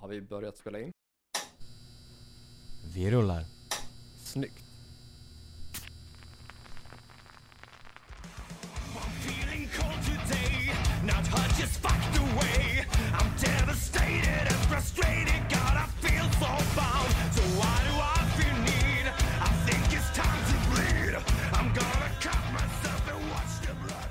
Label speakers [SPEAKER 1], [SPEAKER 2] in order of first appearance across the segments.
[SPEAKER 1] Har vi börjat spela in?
[SPEAKER 2] Vi rullar.
[SPEAKER 1] Snyggt.
[SPEAKER 3] Feeling cold today, not hurt, just fucked away. I'm devastated and frustrated, God, I feel so bound. So why do I feel need? I think it's time to bleed. I'm gonna cut myself and watch the blood.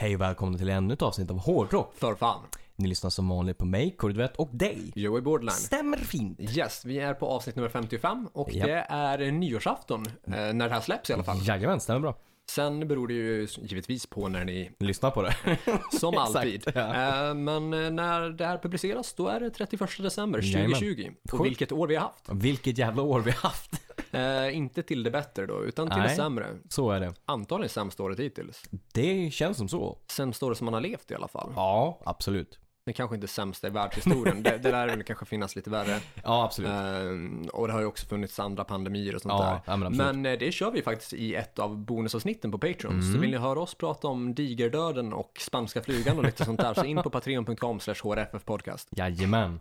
[SPEAKER 2] Hej och välkomna till ännu ett avsnitt av Hårdrock.
[SPEAKER 1] För fan.
[SPEAKER 2] Ni lyssnar som vanligt på mig, Kåre Duvett och dig.
[SPEAKER 1] Joey Bordline.
[SPEAKER 2] Stämmer fint.
[SPEAKER 1] Yes, vi är på avsnitt nummer 55 och
[SPEAKER 2] Japp.
[SPEAKER 1] det är nyårsafton eh, när det här släpps i alla fall.
[SPEAKER 2] Jajamän, stämmer bra.
[SPEAKER 1] Sen beror det ju givetvis på när ni,
[SPEAKER 2] Lyssna på det.
[SPEAKER 1] som
[SPEAKER 2] Exakt,
[SPEAKER 1] alltid.
[SPEAKER 2] ja.
[SPEAKER 1] Eh, Men eh, när det här publiceras, då är det 31 december
[SPEAKER 2] Jajamän.
[SPEAKER 1] 2020. Och
[SPEAKER 2] Sjukt.
[SPEAKER 1] vilket år vi har haft.
[SPEAKER 2] Vilket jävla år vi har haft.
[SPEAKER 1] Eh, Inte till det bättre då, utan till det
[SPEAKER 2] Nej.
[SPEAKER 1] sämre.
[SPEAKER 2] Så är det.
[SPEAKER 1] Antagligen sämsta året hittills.
[SPEAKER 2] Det känns som så.
[SPEAKER 1] Sämsta året som man har levt i alla fall.
[SPEAKER 2] Ja, absolut.
[SPEAKER 1] Det kanske inte är sämsta i världshistorien. det, det lär väl kanske finnas lite värre.
[SPEAKER 2] Ja, absolut.
[SPEAKER 1] Ehm, och det har ju också funnits andra pandemier och sånt
[SPEAKER 2] Ja,
[SPEAKER 1] där.
[SPEAKER 2] ja, men absolut.
[SPEAKER 1] men eh, det kör vi faktiskt i ett av bonusavsnitten på Patreon.
[SPEAKER 2] Mm.
[SPEAKER 1] Så vill ni höra oss prata om digerdöden och spanska flugan och lite sånt där så in på patreon.com slash hrffpodcast.
[SPEAKER 2] Jajamän.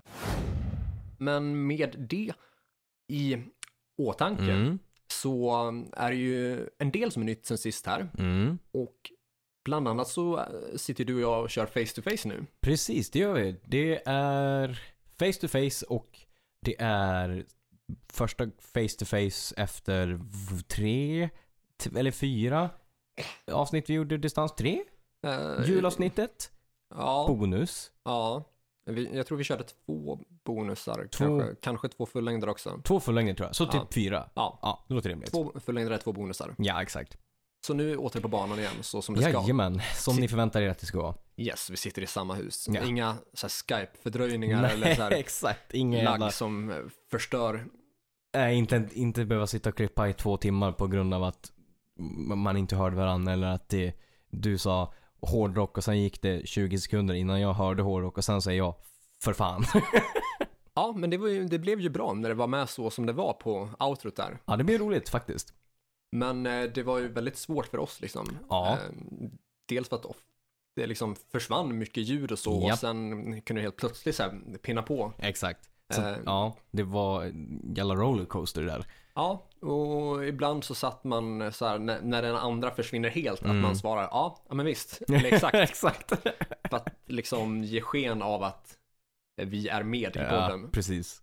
[SPEAKER 1] Men med det i åtanke
[SPEAKER 2] Mm,
[SPEAKER 1] så är det ju en del som är nytt sen sist här.
[SPEAKER 2] mm.
[SPEAKER 1] Och bland annat så eh, sitter du och jag och kör face to face nu.
[SPEAKER 2] Precis, det gör vi. Det är face to face och det är första face to face efter v- tre t- eller fyra avsnitt vi gjorde distans. Tre?
[SPEAKER 1] Eh,
[SPEAKER 2] Julavsnittet.
[SPEAKER 1] Ja,
[SPEAKER 2] Bonus.
[SPEAKER 1] ja. Vi, jag tror vi körde två bonusar,
[SPEAKER 2] Två.
[SPEAKER 1] Kanske, kanske två fullängder också.
[SPEAKER 2] Två fullängder tror jag. Så typ
[SPEAKER 1] Ja.
[SPEAKER 2] fyra.
[SPEAKER 1] Ja,
[SPEAKER 2] Ja, det låter rimligt.
[SPEAKER 1] två fullängder, två bonusar.
[SPEAKER 2] Ja, exakt.
[SPEAKER 1] Så nu åter på banan igen, så som det ska.
[SPEAKER 2] Jajamän, som ni förväntar er att det ska vara.
[SPEAKER 1] Yes, vi sitter i samma hus.
[SPEAKER 2] Ja.
[SPEAKER 1] Inga så här, Skype-fördröjningar eller så här
[SPEAKER 2] exakt. Ingen jävla...
[SPEAKER 1] lagg som eh, förstör.
[SPEAKER 2] Nej, Eh, inte, inte behöva sitta och klippa i två timmar på grund av att m- man inte hörde varandra eller att det, du sa hårdrock och sen gick det 20 sekunder innan jag hörde hårdrock och sen säger jag för fan.
[SPEAKER 1] Ja, men det, var ju, det blev ju bra när det var med så som det var på outrot där.
[SPEAKER 2] ja, det blir roligt faktiskt.
[SPEAKER 1] Men eh, det var ju väldigt svårt för oss liksom.
[SPEAKER 2] Ja.
[SPEAKER 1] Eh, dels för att of- det liksom försvann mycket ljud och så och
[SPEAKER 2] Japp.
[SPEAKER 1] sen kunde det helt plötsligt så här, pinna på.
[SPEAKER 2] Exakt. Så,
[SPEAKER 1] Eh.
[SPEAKER 2] Ja, det var en jävla rollercoaster där.
[SPEAKER 1] Ja, och ibland så satt man så här när, när den andra försvinner helt, att
[SPEAKER 2] Mm.
[SPEAKER 1] man svarar ja, ja men visst, eller exakt.
[SPEAKER 2] exakt.
[SPEAKER 1] för att liksom ge sken av att vi är med i
[SPEAKER 2] ja,
[SPEAKER 1] podden.
[SPEAKER 2] precis.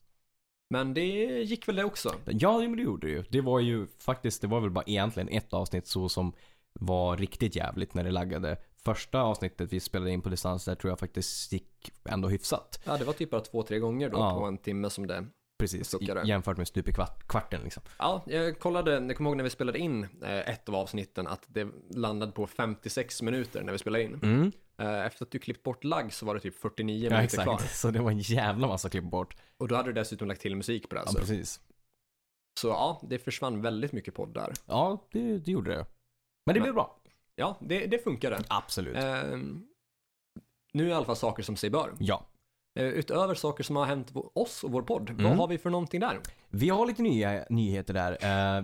[SPEAKER 1] Men det gick väl det också.
[SPEAKER 2] Ja, men det gjorde det ju. Det var ju faktiskt, det var väl bara egentligen ett avsnitt så som var riktigt jävligt när det laggade. Första avsnittet vi spelade in på distans där tror jag faktiskt gick ändå hyfsat.
[SPEAKER 1] Ja, det var typ bara två, tre gånger då
[SPEAKER 2] Ja.
[SPEAKER 1] på en timme som det.
[SPEAKER 2] Precis, i-
[SPEAKER 1] Suckade.
[SPEAKER 2] jämfört med stup i kvart, kvarten liksom.
[SPEAKER 1] Ja, jag kollade, jag kommer ihåg när vi spelade in eh, ett av avsnitten att det landade på 56 minuter när vi spelade in.
[SPEAKER 2] Mm,
[SPEAKER 1] Eh, Efter att du klippt bort lagg så var det typ 49
[SPEAKER 2] ja,
[SPEAKER 1] minuter
[SPEAKER 2] exakt.
[SPEAKER 1] kvar.
[SPEAKER 2] Så det var en jävla massa klipp bort.
[SPEAKER 1] Och då hade du dessutom lagt till musik på det.
[SPEAKER 2] Ja,
[SPEAKER 1] Alltså.
[SPEAKER 2] precis.
[SPEAKER 1] så ja, det försvann väldigt mycket podd där.
[SPEAKER 2] Ja, det, det gjorde det. Men det blev bra. Eh.
[SPEAKER 1] Ja, det, det funkade.
[SPEAKER 2] Absolut.
[SPEAKER 1] Ehm, nu är i alla fall saker som sig bör.
[SPEAKER 2] Ja.
[SPEAKER 1] Eh, Utöver saker som har hänt på oss och vår podd, vad
[SPEAKER 2] Mm.
[SPEAKER 1] har vi för någonting där?
[SPEAKER 2] Vi har lite nya nyheter där. Uh,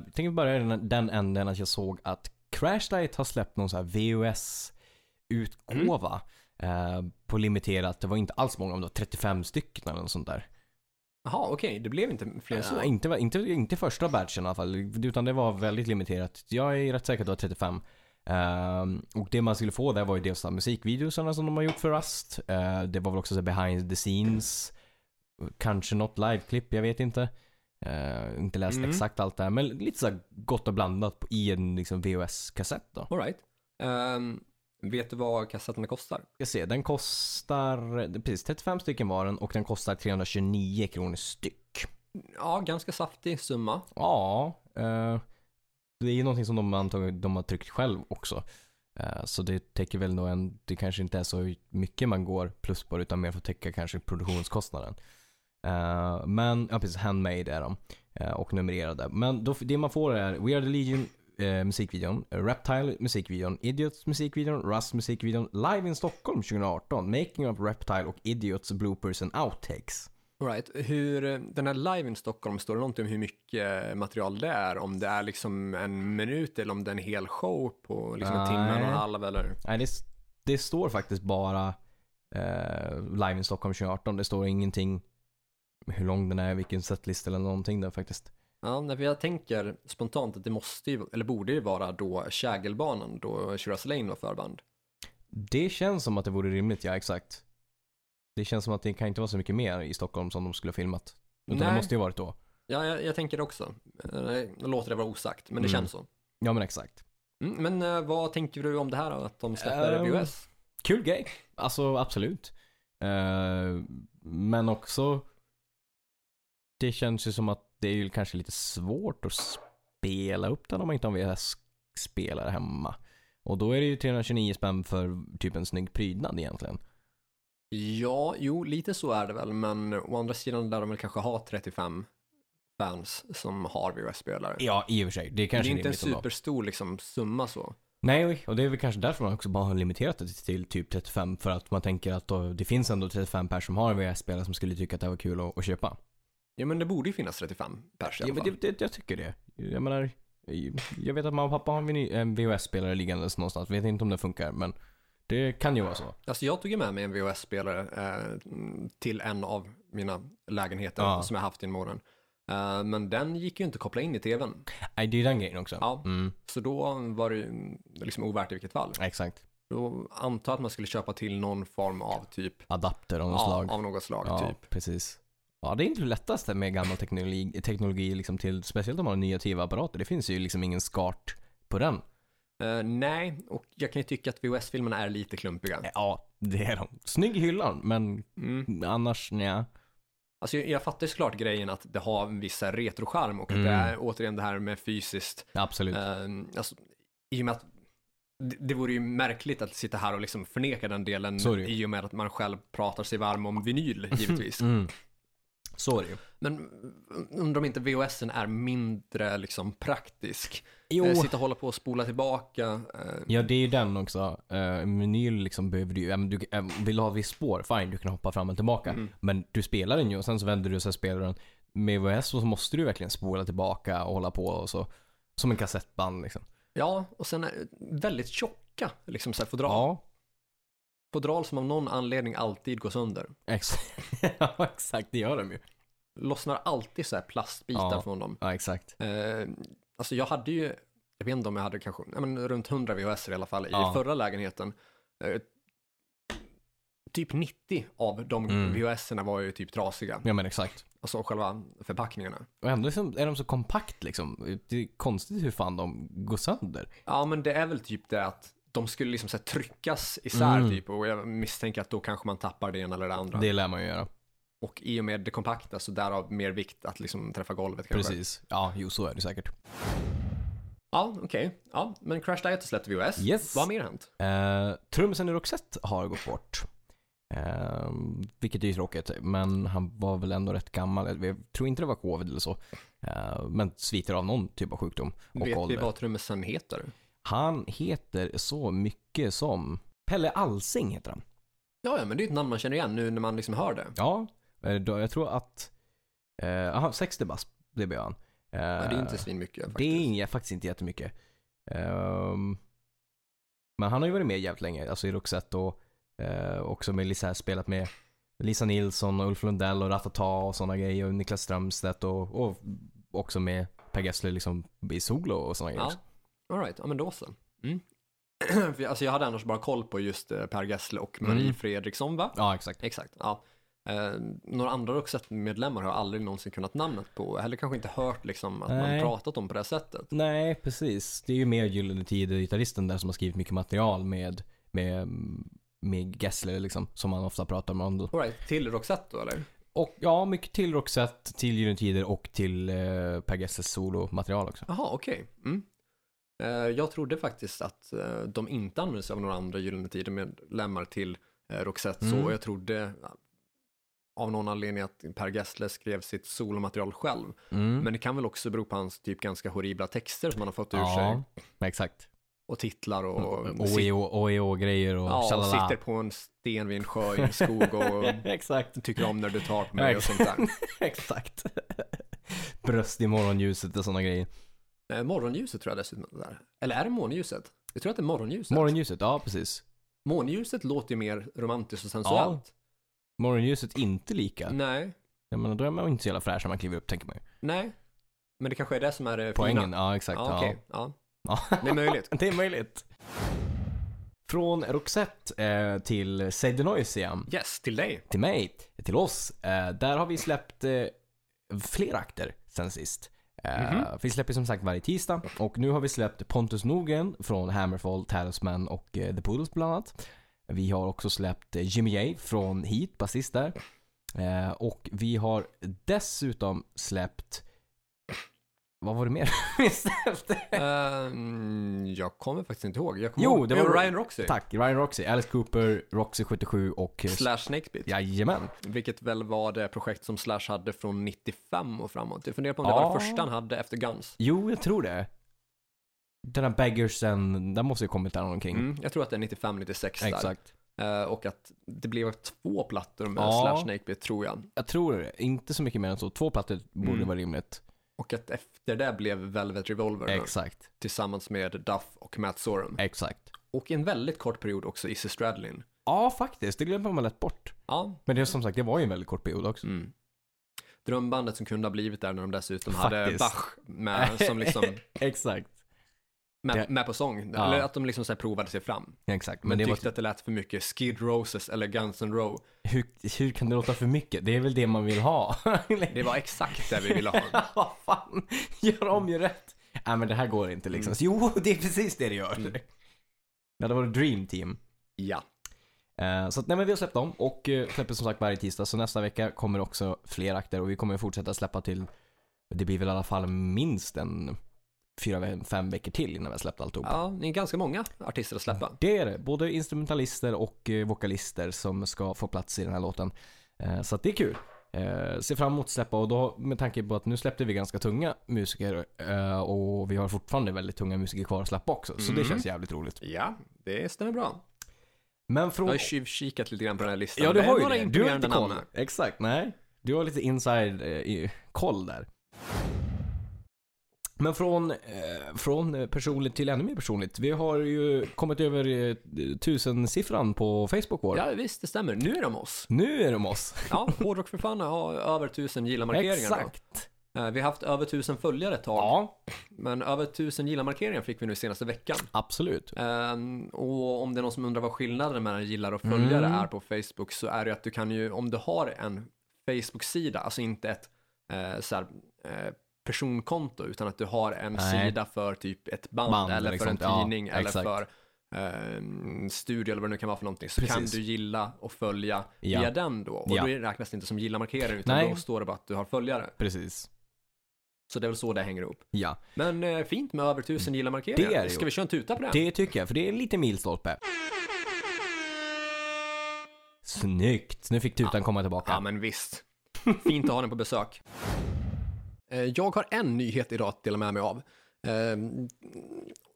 [SPEAKER 2] tänkte börja i den, den änden att jag såg att Crashlight har släppt någon så här VHS-utgåva eh, på limiterat. Det var inte alls många, om det var 35 stycken eller något sånt där.
[SPEAKER 1] Jaha, okej, det blev inte fler än så.
[SPEAKER 2] Eh, inte, inte, inte första batchen i alla fall, utan det var väldigt limiterat. Jag är rätt säker på att det var 35. Eh, och det man skulle få där var ju dels de här musikvideosarna som de har gjort för Rust. Eh, det var väl också så här behind the scenes. Kanske något liveklipp, jag vet inte. Eh, inte läst
[SPEAKER 1] Mm.
[SPEAKER 2] exakt allt det här, men lite så här gott och blandat på- i en liksom VHS-kassett då.
[SPEAKER 1] All right. Ehm, vet du vad kassetterna kostar?
[SPEAKER 2] Jag ser, den kostar, precis 35 stycken var den och den kostar 329 kronor styck.
[SPEAKER 1] Ja, ganska saftig summa.
[SPEAKER 2] Ja, eh, det är ju någonting som de antagligen de har tryckt själv också. Eh, så det täcker väl nog en, det kanske inte är så mycket man går plus på det, utan mer för att täcka kanske produktionskostnaden. Eh, men, ja precis, handmade är de. eh, och numrerade. Men då, det man får är We Are The Legion eh, musikvideon, Reptile musikvideon, Idiots musikvideon, Rust musikvideon, Live in Stockholm 2018, Making of Reptile och Idiots bloopers and outtakes.
[SPEAKER 1] All right. Hur, eh, den här live in Stockholm, står det någonting om hur mycket eh, material det är? Om det är liksom en minut eller om det är en hel show på liksom en timme och en
[SPEAKER 2] Nej.
[SPEAKER 1] halv eller?
[SPEAKER 2] Nej, det, det står faktiskt bara eh, Live in Stockholm 2018. Det står ingenting hur lång den är, vilken setlista eller någonting där faktiskt.
[SPEAKER 1] Ja, nej, för jag tänker spontant att det måste ju, eller borde ju vara då Kägelbanan, då Shiraz Lane var förband.
[SPEAKER 2] Det känns som att det vore rimligt, ja exakt. Det känns som att det kan inte vara så mycket mer i Stockholm som de skulle ha filmat. Utan det
[SPEAKER 1] Nej.
[SPEAKER 2] måste ju varit då.
[SPEAKER 1] Ja, jag, jag tänker det också. Eh, Jag låter det vara osagt, men det
[SPEAKER 2] Mm.
[SPEAKER 1] känns så.
[SPEAKER 2] Ja men exakt.
[SPEAKER 1] Mm, men eh, vad tänker du om det här då, att de släpper
[SPEAKER 2] Ehm,
[SPEAKER 1] BOS?
[SPEAKER 2] Kul grej. Alltså absolut. Eh, men också. Det känns ju som att det är ju kanske lite svårt att spela upp den om man inte har en VHS-spelare hemma. Och då är det ju 329 spänn för typ en snygg prydnad egentligen.
[SPEAKER 1] Ja, jo, lite så är det väl, men å andra sidan lär de väl kanske ha 35 fans som har VHS-spelare.
[SPEAKER 2] Ja, i och för sig. Det är
[SPEAKER 1] Det är
[SPEAKER 2] kanske
[SPEAKER 1] inte en
[SPEAKER 2] rimligt ändå.
[SPEAKER 1] superstor liksom, summa så.
[SPEAKER 2] Nej, och det är väl kanske därför man också bara har limiterat det till typ 35. För att man tänker att då, det finns ändå 35 personer som har en VHS-spelare som skulle tycka att det här var kul att, att köpa.
[SPEAKER 1] Ja, men det borde ju finnas 35 pers i
[SPEAKER 2] Ja,
[SPEAKER 1] alla
[SPEAKER 2] men
[SPEAKER 1] fall.
[SPEAKER 2] det, det, jag tycker det. Jag menar, jag vet att mamma och pappa har en vinyl- en VHS-spelare liggandes någonstans. Vet inte om det funkar, men det kan ju vara så.
[SPEAKER 1] Alltså jag tog ju med mig en VHS-spelare eh, till en av mina lägenheter
[SPEAKER 2] Ja.
[SPEAKER 1] som jag haft i en morgon. Eh, men den gick ju inte att koppla in i tvn.
[SPEAKER 2] Nej, det är ju den grejen också.
[SPEAKER 1] Ja.
[SPEAKER 2] Mm,
[SPEAKER 1] Så då var det ju liksom ovärt i vilket fall.
[SPEAKER 2] exakt.
[SPEAKER 1] Då antar jag att man skulle köpa till någon form av typ,
[SPEAKER 2] Adapter av något
[SPEAKER 1] ja,
[SPEAKER 2] slag.
[SPEAKER 1] av något slag
[SPEAKER 2] ja,
[SPEAKER 1] typ.
[SPEAKER 2] precis. Ja, det är inte det lättaste med gammal teknologi, teknologi liksom till, speciellt om man har nya tv-apparater. Det finns ju liksom ingen skart på den.
[SPEAKER 1] Eh, nej, och jag kan ju tycka att VHS-filmerna är lite klumpiga.
[SPEAKER 2] Ja, det är de. Snygg i hyllan, men
[SPEAKER 1] Mm.
[SPEAKER 2] annars nja.
[SPEAKER 1] Alltså jag, jag fattar ju såklart grejen att det har en viss så här retrocharm och att det
[SPEAKER 2] Mm.
[SPEAKER 1] är återigen det här med fysiskt
[SPEAKER 2] Absolut.
[SPEAKER 1] Eh, alltså, I och med att det, det vore ju märkligt att sitta här och liksom förneka den delen
[SPEAKER 2] Så är det ju.
[SPEAKER 1] i och med att man själv pratar sig varm om vinyl givetvis.
[SPEAKER 2] Mm. Så är det ju.
[SPEAKER 1] Men eh, undrar om inte VHSen är mindre liksom praktisk.
[SPEAKER 2] Jo.
[SPEAKER 1] Eh, sitta och hålla på och spola tillbaka. eh,
[SPEAKER 2] Ja, det är ju den också. Uh, vinyl liksom behöver du ju, ja, men du eh, vill du ha ett visst spår, fine, du kan hoppa fram och tillbaka. Men du spelar den ju och sen så vänder du och sen spelar du den. Med VHS så måste du verkligen spola tillbaka och hålla på och så. Som en kassettband liksom.
[SPEAKER 1] Ja, och sen eh, väldigt tjocka liksom så här fodral.
[SPEAKER 2] Ja,
[SPEAKER 1] Fodral som av någon anledning alltid går sönder.
[SPEAKER 2] exakt. ja, exakt. Det gör de ju.
[SPEAKER 1] Lossnar alltid så här plastbitar
[SPEAKER 2] Ja.
[SPEAKER 1] från dem.
[SPEAKER 2] Ja, exakt.
[SPEAKER 1] Eh, alltså jag hade ju, jag vet inte om jag hade kanske, ja, men runt 100 VHS i alla fall i
[SPEAKER 2] Ja.
[SPEAKER 1] förra lägenheten. Eh, typ 90 av de
[SPEAKER 2] Mm.
[SPEAKER 1] VHS var ju typ trasiga,
[SPEAKER 2] Ja, men exakt.
[SPEAKER 1] alltså själva förpackningarna.
[SPEAKER 2] Och ändå är de- är de så kompakt liksom. Det är konstigt hur fan de går sönder.
[SPEAKER 1] Ja men det är väl typ det att de skulle liksom så här tryckas isär
[SPEAKER 2] Mm.
[SPEAKER 1] typ och jag misstänker att då kanske man tappar det ena eller det andra.
[SPEAKER 2] Det lär man ju göra.
[SPEAKER 1] Och i och med det kompakta så därav mer vikt att liksom träffa golvet kanske.
[SPEAKER 2] Precis. Ja, jo så är det säkert.
[SPEAKER 1] Ja okej, ja men Crash Diet släppte VHS.
[SPEAKER 2] Yes.
[SPEAKER 1] Vad har mer hänt?
[SPEAKER 2] Eh, trummisen i Roxette har gått bort. Eh, vilket är ju tråkigt, men han var väl ändå rätt gammal. Eh, Jag tror inte det var covid eller så. Eh, men sviter av någon typ av sjukdom och
[SPEAKER 1] Vet vi
[SPEAKER 2] ålder.
[SPEAKER 1] vad trummisen heter?
[SPEAKER 2] Han heter så mycket som Pelle Alsing heter han.
[SPEAKER 1] Ja, ja, men det är ett namn man känner igen nu när man liksom hör det.
[SPEAKER 2] Ja, eh, då, jag tror att... eh, Aha, 60 bast, det blev han. Eh,
[SPEAKER 1] Ja, det är inte svinmycket faktiskt.
[SPEAKER 2] Det är inga- faktiskt inte jättemycket. Um, men han har ju varit med jävligt länge, alltså i Roxette och eh, också med Lisa, spelat med Lisa Nilsson och Ulf Lundell och Ratata och sådana grejer och Niklas Strömstedt och, och också med Per Gessle liksom i solo och sådana grejer.
[SPEAKER 1] Ja.
[SPEAKER 2] också.
[SPEAKER 1] All right, ja men då så. Mm. För jag- alltså jag hade annars bara koll på just eh, Per Gessle och Marie
[SPEAKER 2] Mm.
[SPEAKER 1] Fredriksson va?
[SPEAKER 2] Ja, exakt.
[SPEAKER 1] Exakt, ja. Eh, några andra Roxette-medlemmar har jag aldrig någonsin kunnat namnet på, eller kanske inte hört liksom att man
[SPEAKER 2] Nej.
[SPEAKER 1] pratat om på det här sättet.
[SPEAKER 2] Nej, precis. Det är ju mer Gyllene Tider-gitarristen där som har skrivit mycket material med, med, med Gessle liksom, som han ofta pratar om.
[SPEAKER 1] All right, till Roxette då eller?
[SPEAKER 2] Och ja, mycket till Roxette, till Gyllene Tider och till eh, Per Gessles solomaterial också.
[SPEAKER 1] Jaha, okej. Mm. Eh, jag trodde faktiskt att eh, de inte använde sig av några andra Gyllene Tider-medlemmar till eh, Roxette,
[SPEAKER 2] Mm.
[SPEAKER 1] så jag trodde eh, av någon anledning att Per Gessle skrev sitt solomaterial själv.
[SPEAKER 2] Mm.
[SPEAKER 1] Men det kan väl också bero på hans typ ganska horribla texter som han har fått ur sig.
[SPEAKER 2] ja, exakt.
[SPEAKER 1] Och titlar och... sit-
[SPEAKER 2] OEO-grejer och
[SPEAKER 1] ja, och
[SPEAKER 2] tjalala.
[SPEAKER 1] sitter på en sten vid en sjö i en skog och
[SPEAKER 2] Exakt,
[SPEAKER 1] tycker om när du tar på mig och sånt där.
[SPEAKER 2] exakt. Bröst i morgonljuset och sådana grejer.
[SPEAKER 1] Eh, morgonljuset tror jag dessutom är där. Eller är det månljuset? Jag tror att det är morgonljuset.
[SPEAKER 2] Morgonljuset, ja precis.
[SPEAKER 1] Månljuset låter ju mer romantiskt och sensuellt. Mm.
[SPEAKER 2] Morgonljuset inte lika.
[SPEAKER 1] Nej.
[SPEAKER 2] Jag menar, då är man ju inte så jävla fräsch när man kliver upp, tänker man ju.
[SPEAKER 1] Nej, men det kanske är det som är det fina.
[SPEAKER 2] Poängen, ja exakt.
[SPEAKER 1] Ja,
[SPEAKER 2] Ja,
[SPEAKER 1] okej. Ja.
[SPEAKER 2] Ja.
[SPEAKER 1] Det är möjligt.
[SPEAKER 2] Det är möjligt. Från Roxette eh, till Say the Noise igen.
[SPEAKER 1] Yes, till dig.
[SPEAKER 2] Till mig, till oss. Eh, där har vi släppt eh, flera akter sen sist. Eh, Vi släpper som sagt varje tisdag och nu har vi släppt Pontus Nogen från Hammerfall, Talisman och eh, The Poodles bland annat. Vi har också släppt eh, Jimmy J från Heat, basist där. Eh, och vi har dessutom släppt... Vad var det mer vi släppte?
[SPEAKER 1] Ehm, jag kommer faktiskt inte ihåg. Jag kommer
[SPEAKER 2] Jo,
[SPEAKER 1] ihåg.
[SPEAKER 2] det var-
[SPEAKER 1] Ryan Roxy.
[SPEAKER 2] Tack, Ryan Roxy, Alice Cooper, Roxy 77 och... eh,
[SPEAKER 1] Slash Snakebit.
[SPEAKER 2] Jajamän.
[SPEAKER 1] Vilket väl var det projekt som Slash hade från 95 och framåt. Jag funderar på om det var det
[SPEAKER 2] Ja.
[SPEAKER 1] första han hade efter Guns.
[SPEAKER 2] Jo, jag tror det. Den här Baggersen, den måste ju kommit där omkring.
[SPEAKER 1] Mm, jag tror att det är 95, 96 där.
[SPEAKER 2] Exakt.
[SPEAKER 1] Eh, och att det blev två plattor med
[SPEAKER 2] Ja.
[SPEAKER 1] Slash Snakebit tror jag.
[SPEAKER 2] Jag tror det. Inte så mycket mer än så. Två plattor borde
[SPEAKER 1] Mm.
[SPEAKER 2] vara rimligt.
[SPEAKER 1] Och att efter det blev Velvet Revolver då,
[SPEAKER 2] Exakt.
[SPEAKER 1] tillsammans med Duff och Matt Sorum.
[SPEAKER 2] Exakt.
[SPEAKER 1] Och i en väldigt kort period också Izzy Stradlin.
[SPEAKER 2] Ja, faktiskt. Det glömmer man lätt bort.
[SPEAKER 1] Ja,
[SPEAKER 2] Men det är som sagt, det var ju en väldigt kort period också.
[SPEAKER 1] Mm. Drömbandet som kunde ha blivit där när de dessutom hade
[SPEAKER 2] Faktiskt.
[SPEAKER 1] Bach med, som liksom,
[SPEAKER 2] Exakt. Ja.
[SPEAKER 1] med, med på sång.
[SPEAKER 2] Ja.
[SPEAKER 1] Eller att de liksom så här provade sig fram.
[SPEAKER 2] Exakt.
[SPEAKER 1] Men
[SPEAKER 2] Men det var,
[SPEAKER 1] tyckte att det lät för mycket Skid Roses eller Guns N' Roses.
[SPEAKER 2] hur, hur kan det låta för mycket? Det är väl det man vill ha?
[SPEAKER 1] Det var exakt det vi ville ha.
[SPEAKER 2] Vad fan, gör om, gör rätt. Nej men det här går inte
[SPEAKER 1] Mm.
[SPEAKER 2] liksom. Jo, det är precis det det gör. Ja, det var Dream Team.
[SPEAKER 1] Ja.
[SPEAKER 2] Eh, Så att, nej, men vi har släppt dem och eh, släpper som sagt varje tisdag. Så nästa vecka kommer också fler akter och vi kommer fortsätta släppa till, det blir väl i alla fall minst en fyra, fem veckor till innan vi har släppt alltihop.
[SPEAKER 1] ja, det är ganska många artister att släppa.
[SPEAKER 2] Det är det, både instrumentalister och eh, vokalister som ska få plats i den här låten. Eh, Så att det är kul. Eh, Ser fram emot att släppa och då med tanke på att nu släppte vi ganska tunga musiker eh, och vi har fortfarande väldigt tunga musiker kvar att släppa också. Så det
[SPEAKER 1] Mm.
[SPEAKER 2] känns jävligt roligt.
[SPEAKER 1] Ja, det stämmer bra.
[SPEAKER 2] Men
[SPEAKER 1] Jag
[SPEAKER 2] från
[SPEAKER 1] har tjuvkikat lite grann på den här listan.
[SPEAKER 2] Ja, du
[SPEAKER 1] Det är
[SPEAKER 2] har ju
[SPEAKER 1] några
[SPEAKER 2] det. Du har
[SPEAKER 1] imponerande
[SPEAKER 2] lite koll.
[SPEAKER 1] namn.
[SPEAKER 2] Exakt, nej. Du har lite inside eh, i- koll där. Men från, eh, från personligt till ännu mer personligt. Vi har ju kommit över eh, tusensiffran på Facebook vår.
[SPEAKER 1] Ja, visst, det stämmer. Nu är de oss.
[SPEAKER 2] Nu är de oss.
[SPEAKER 1] Ja, Hårdrock för fan har över tusen gilla-markeringar. då.
[SPEAKER 2] Exakt.
[SPEAKER 1] Eh, Vi har haft över tusen följare ett tag.
[SPEAKER 2] Ja,
[SPEAKER 1] Men över tusen gilla-markeringar fick vi nu senaste veckan.
[SPEAKER 2] absolut.
[SPEAKER 1] Ehm, och om det är någon som undrar vad skillnaden mellan gillar och följare
[SPEAKER 2] Mm.
[SPEAKER 1] är på Facebook så är det ju att du kan ju, om du har en Facebook-sida, alltså inte ett eh, så här, eh, personkonto utan att du har en
[SPEAKER 2] Nej.
[SPEAKER 1] sida för typ ett band,
[SPEAKER 2] Band
[SPEAKER 1] eller
[SPEAKER 2] eller
[SPEAKER 1] för en
[SPEAKER 2] sånt, ja,
[SPEAKER 1] tidning eller
[SPEAKER 2] exakt.
[SPEAKER 1] för eh, studio eller vad det nu kan vara för någonting så kan
[SPEAKER 2] Precis.
[SPEAKER 1] du gilla och följa
[SPEAKER 2] Ja.
[SPEAKER 1] via den då och
[SPEAKER 2] Ja.
[SPEAKER 1] då räknas det inte som gilla-markering utan
[SPEAKER 2] Nej.
[SPEAKER 1] då står det bara att du har följare.
[SPEAKER 2] Precis.
[SPEAKER 1] Så det är väl så det hänger ihop.
[SPEAKER 2] Ja,
[SPEAKER 1] Men eh, fint med över tusen
[SPEAKER 2] Det är
[SPEAKER 1] gilla-markeringar.
[SPEAKER 2] det
[SPEAKER 1] Ska
[SPEAKER 2] ju.
[SPEAKER 1] vi köra en tuta på det?
[SPEAKER 2] det tycker jag, för det är en liten milstolpe. Snyggt. Nu fick tutan komma tillbaka.
[SPEAKER 1] Ja, men visst. Fint att ha den på besök. Eh, Jag har en nyhet idag att dela med mig av. Eh,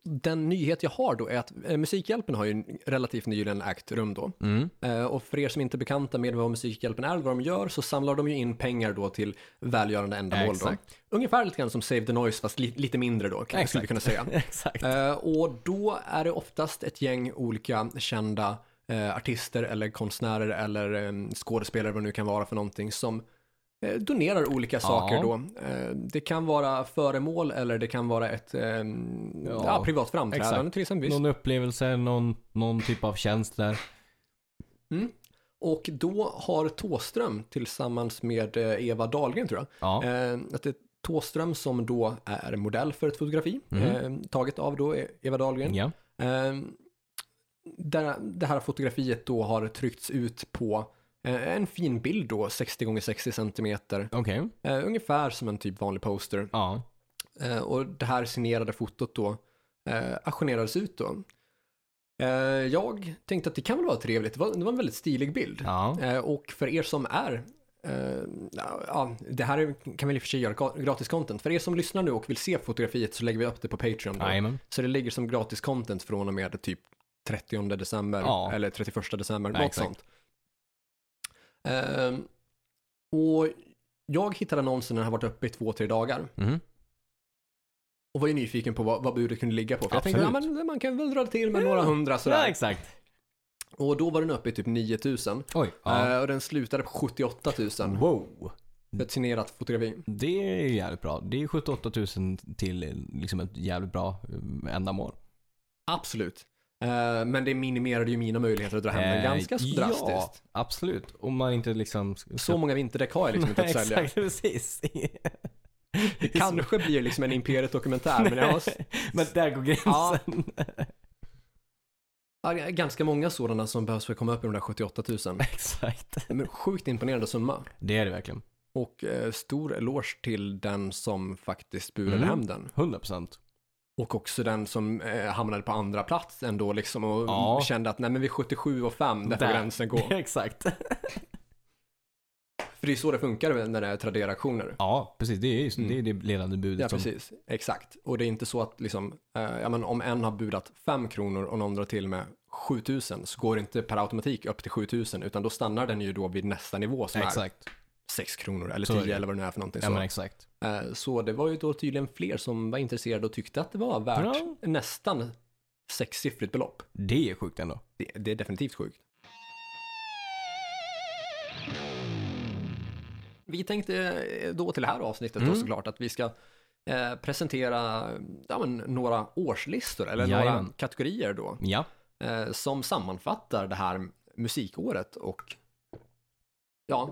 [SPEAKER 1] Den nyhet jag har då är att eh, Musikhjälpen har ju relativt nyligen ägt rum då.
[SPEAKER 2] Mm.
[SPEAKER 1] Eh, Och för er som inte är bekanta med vad Musikhjälpen är och vad de gör så samlar de ju in pengar då till välgörande ändamål då.
[SPEAKER 2] Exakt.
[SPEAKER 1] Ungefär lite grann som Save the Noise fast li- lite mindre då, kan- skulle vi
[SPEAKER 2] Exakt.
[SPEAKER 1] kunna säga.
[SPEAKER 2] Exakt.
[SPEAKER 1] Eh, och då är det oftast ett gäng olika kända eh, artister eller konstnärer eller eh, skådespelare vad det nu kan vara för någonting som eh, donerar olika saker då. Eh, det kan vara föremål eller det kan vara ett eh, ja. privat framträdande
[SPEAKER 2] exakt.
[SPEAKER 1] till exempel.
[SPEAKER 2] Någon upplevelse, någon, någon typ av tjänster.
[SPEAKER 1] Och då har Tåström tillsammans med eh, Eva Dahlgren tror jag,
[SPEAKER 2] Ja.
[SPEAKER 1] Eh, att det är Tåström som då är modell för ett fotografi,
[SPEAKER 2] Mm.
[SPEAKER 1] eh, taget av då Eva Dahlgren.
[SPEAKER 2] ja.
[SPEAKER 1] Eh, där, det här fotografiet då har tryckts ut på eh, en fin bild då, 60 x 60 centimeter,
[SPEAKER 2] Okej.
[SPEAKER 1] eh, ungefär som en typ vanlig poster.
[SPEAKER 2] Ja.
[SPEAKER 1] Eh, och det här signerade fotot då eh, auktionerades ut då. Eh, jag tänkte att det kan väl vara trevligt, det var, det var en väldigt stilig bild.
[SPEAKER 2] Ja.
[SPEAKER 1] Eh, och för er som är eh, ja, ja, det här är- kan vi i och för sig göra gra- gratis content. För er som lyssnar nu och vill se fotografiet så lägger vi upp det på Patreon. Då.
[SPEAKER 2] Jajamän.
[SPEAKER 1] Så det ligger som gratis content från och med typ 30 december
[SPEAKER 2] Ja.
[SPEAKER 1] eller 31 december,
[SPEAKER 2] Ja,
[SPEAKER 1] något
[SPEAKER 2] exakt.
[SPEAKER 1] sånt. Ehm, och jag hittade annonsen när den har varit uppe i två, tre dagar
[SPEAKER 2] Mhm.
[SPEAKER 1] och var ju nyfiken på vad, vad budet kunde ligga på. För jag tänkte, ja,
[SPEAKER 2] Absolut.
[SPEAKER 1] men man kan väl dra till med några hundra
[SPEAKER 2] Ja,
[SPEAKER 1] sådär.
[SPEAKER 2] exakt.
[SPEAKER 1] och då var den uppe i typ 9000
[SPEAKER 2] Oj. Ja.
[SPEAKER 1] eh, och den slutade på 78 000.
[SPEAKER 2] wow.
[SPEAKER 1] För ett signerat fotografi.
[SPEAKER 2] Det är ju jävligt bra. Det är 78 000 till eh, liksom ett jävligt bra eh, ändamål.
[SPEAKER 1] Absolut. Eh, men det minimerade ju mina möjligheter att dra hem den ganska så
[SPEAKER 2] Eh,
[SPEAKER 1] drastiskt.
[SPEAKER 2] Ja, absolut. Om man inte liksom... ska-
[SPEAKER 1] Så många vinterdäck har jag liksom inte att
[SPEAKER 2] Nej,
[SPEAKER 1] sälja.
[SPEAKER 2] Exakt, precis.
[SPEAKER 1] Det kanske blir liksom en Imperiet-dokumentär, men jag har s-
[SPEAKER 2] Men där går gränsen.
[SPEAKER 1] ja, ganska många sådana som behövs för att komma upp i de där 78 000.
[SPEAKER 2] Exakt.
[SPEAKER 1] Men sjukt imponerande summa.
[SPEAKER 2] Det är det verkligen.
[SPEAKER 1] Och eh, stor eloge till den som faktiskt burade
[SPEAKER 2] Mm.
[SPEAKER 1] hem den.
[SPEAKER 2] 100 procent.
[SPEAKER 1] Och också den som eh, hamnade på andra plats ändå liksom och
[SPEAKER 2] Ja.
[SPEAKER 1] kände att nej men vid 77 och 5 där får
[SPEAKER 2] Där.
[SPEAKER 1] gränsen gå.
[SPEAKER 2] Exakt.
[SPEAKER 1] För det är så det funkar när det är Tradera-auktioner.
[SPEAKER 2] Ja, precis. Det är ju det, är liksom- det ledande budet.
[SPEAKER 1] Mm. Ja,
[SPEAKER 2] som-
[SPEAKER 1] precis. Exakt. Och det är inte så att liksom, eh, ja, men om en har budat 5 kronor och någon drar till med 7000 så går det inte per automatik upp till 7000 utan då stannar den ju då vid nästa nivå som är
[SPEAKER 2] Exakt.
[SPEAKER 1] 6 kronor eller
[SPEAKER 2] Så är
[SPEAKER 1] 10
[SPEAKER 2] det.
[SPEAKER 1] eller vad det nu är för någonting.
[SPEAKER 2] Ja, men
[SPEAKER 1] Så.
[SPEAKER 2] exakt.
[SPEAKER 1] Eh, så det var ju då tydligen fler som var intresserade och tyckte att det var värt
[SPEAKER 2] Ja.
[SPEAKER 1] nästan sexsiffrigt belopp.
[SPEAKER 2] Det är sjukt ändå.
[SPEAKER 1] Det, det är definitivt sjukt. Vi tänkte eh, då till det här avsnittet
[SPEAKER 2] Mm.
[SPEAKER 1] då såklart att vi ska eh, presentera ja, men, några årslistor eller några
[SPEAKER 2] Jajamän.
[SPEAKER 1] kategorier då
[SPEAKER 2] Ja.
[SPEAKER 1] eh, som sammanfattar det här musikåret och ja, ja,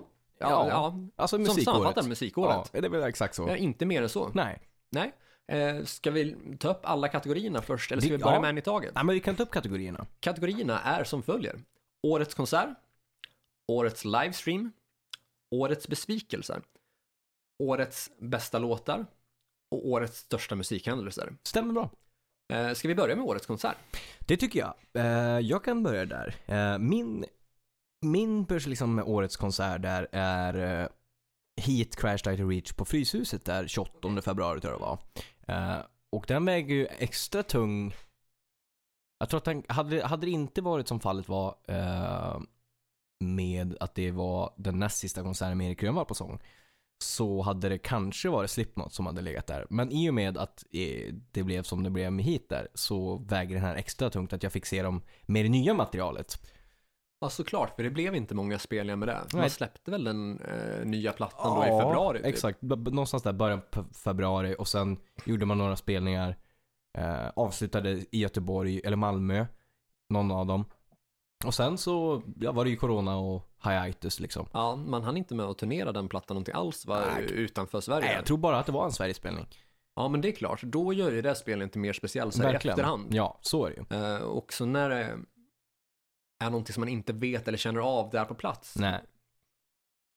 [SPEAKER 1] ja,
[SPEAKER 2] Ja, Alltså
[SPEAKER 1] som
[SPEAKER 2] musikåret.
[SPEAKER 1] sammanfattar
[SPEAKER 2] Ja,
[SPEAKER 1] musikåret.
[SPEAKER 2] det är väl exakt så.
[SPEAKER 1] Eh, inte mer än så.
[SPEAKER 2] Nej.
[SPEAKER 1] Nej. Eh, ska vi ta upp alla kategorierna först eller ska
[SPEAKER 2] Det-
[SPEAKER 1] vi börja
[SPEAKER 2] ja.
[SPEAKER 1] med en i taget?
[SPEAKER 2] Nej, men vi kan ta upp kategorierna.
[SPEAKER 1] Kategorierna är som följer. Årets konsert, Årets livestream, Årets besvikelser, Årets bästa låtar och Årets största musikhändelser.
[SPEAKER 2] Stämmer bra.
[SPEAKER 1] Eh, ska vi börja med Årets konsert?
[SPEAKER 2] Det tycker jag. Eh, jag kan börja där. Eh, min min börs liksom med årets konsert där är eh, Heat Crash Died to Reach på Fryshuset där 28 februari tror jag det var. Eh, och den väger ju extra tung. Jag tror att den, hade, hade det inte varit som fallet var eh, med att det var den näst sista konserten med Erik Grönvall på sång så hade det kanske varit Slipknot som hade legat där. Men i och med att eh, det blev som det blev med Heat där så väger den här extra tungt att jag fick se dem med det nya materialet.
[SPEAKER 1] Ja, såklart, för det blev inte många spelningar med det. Man
[SPEAKER 2] Nej.
[SPEAKER 1] släppte väl den eh, nya plattan då i februari? typ.
[SPEAKER 2] Exakt, B- b- någonstans där början på februari och sen gjorde man några spelningar. Eh, avslutade i Göteborg eller Malmö, någon av dem. Och sen så ja, var det ju Corona och hiatus liksom.
[SPEAKER 1] Ja, man hann inte med att turnera den plattan någonting alls va?
[SPEAKER 2] Nej.
[SPEAKER 1] utanför Sverige.
[SPEAKER 2] Nej, jag tror bara att det var en Sverigespelning.
[SPEAKER 1] Ja, men det är klart. Då gör ju det spelen inte mer speciell så här i efterhand.
[SPEAKER 2] Ja, så är det ju.
[SPEAKER 1] Eh, och så när det är någonting som man inte vet eller känner av där på plats,
[SPEAKER 2] Nej,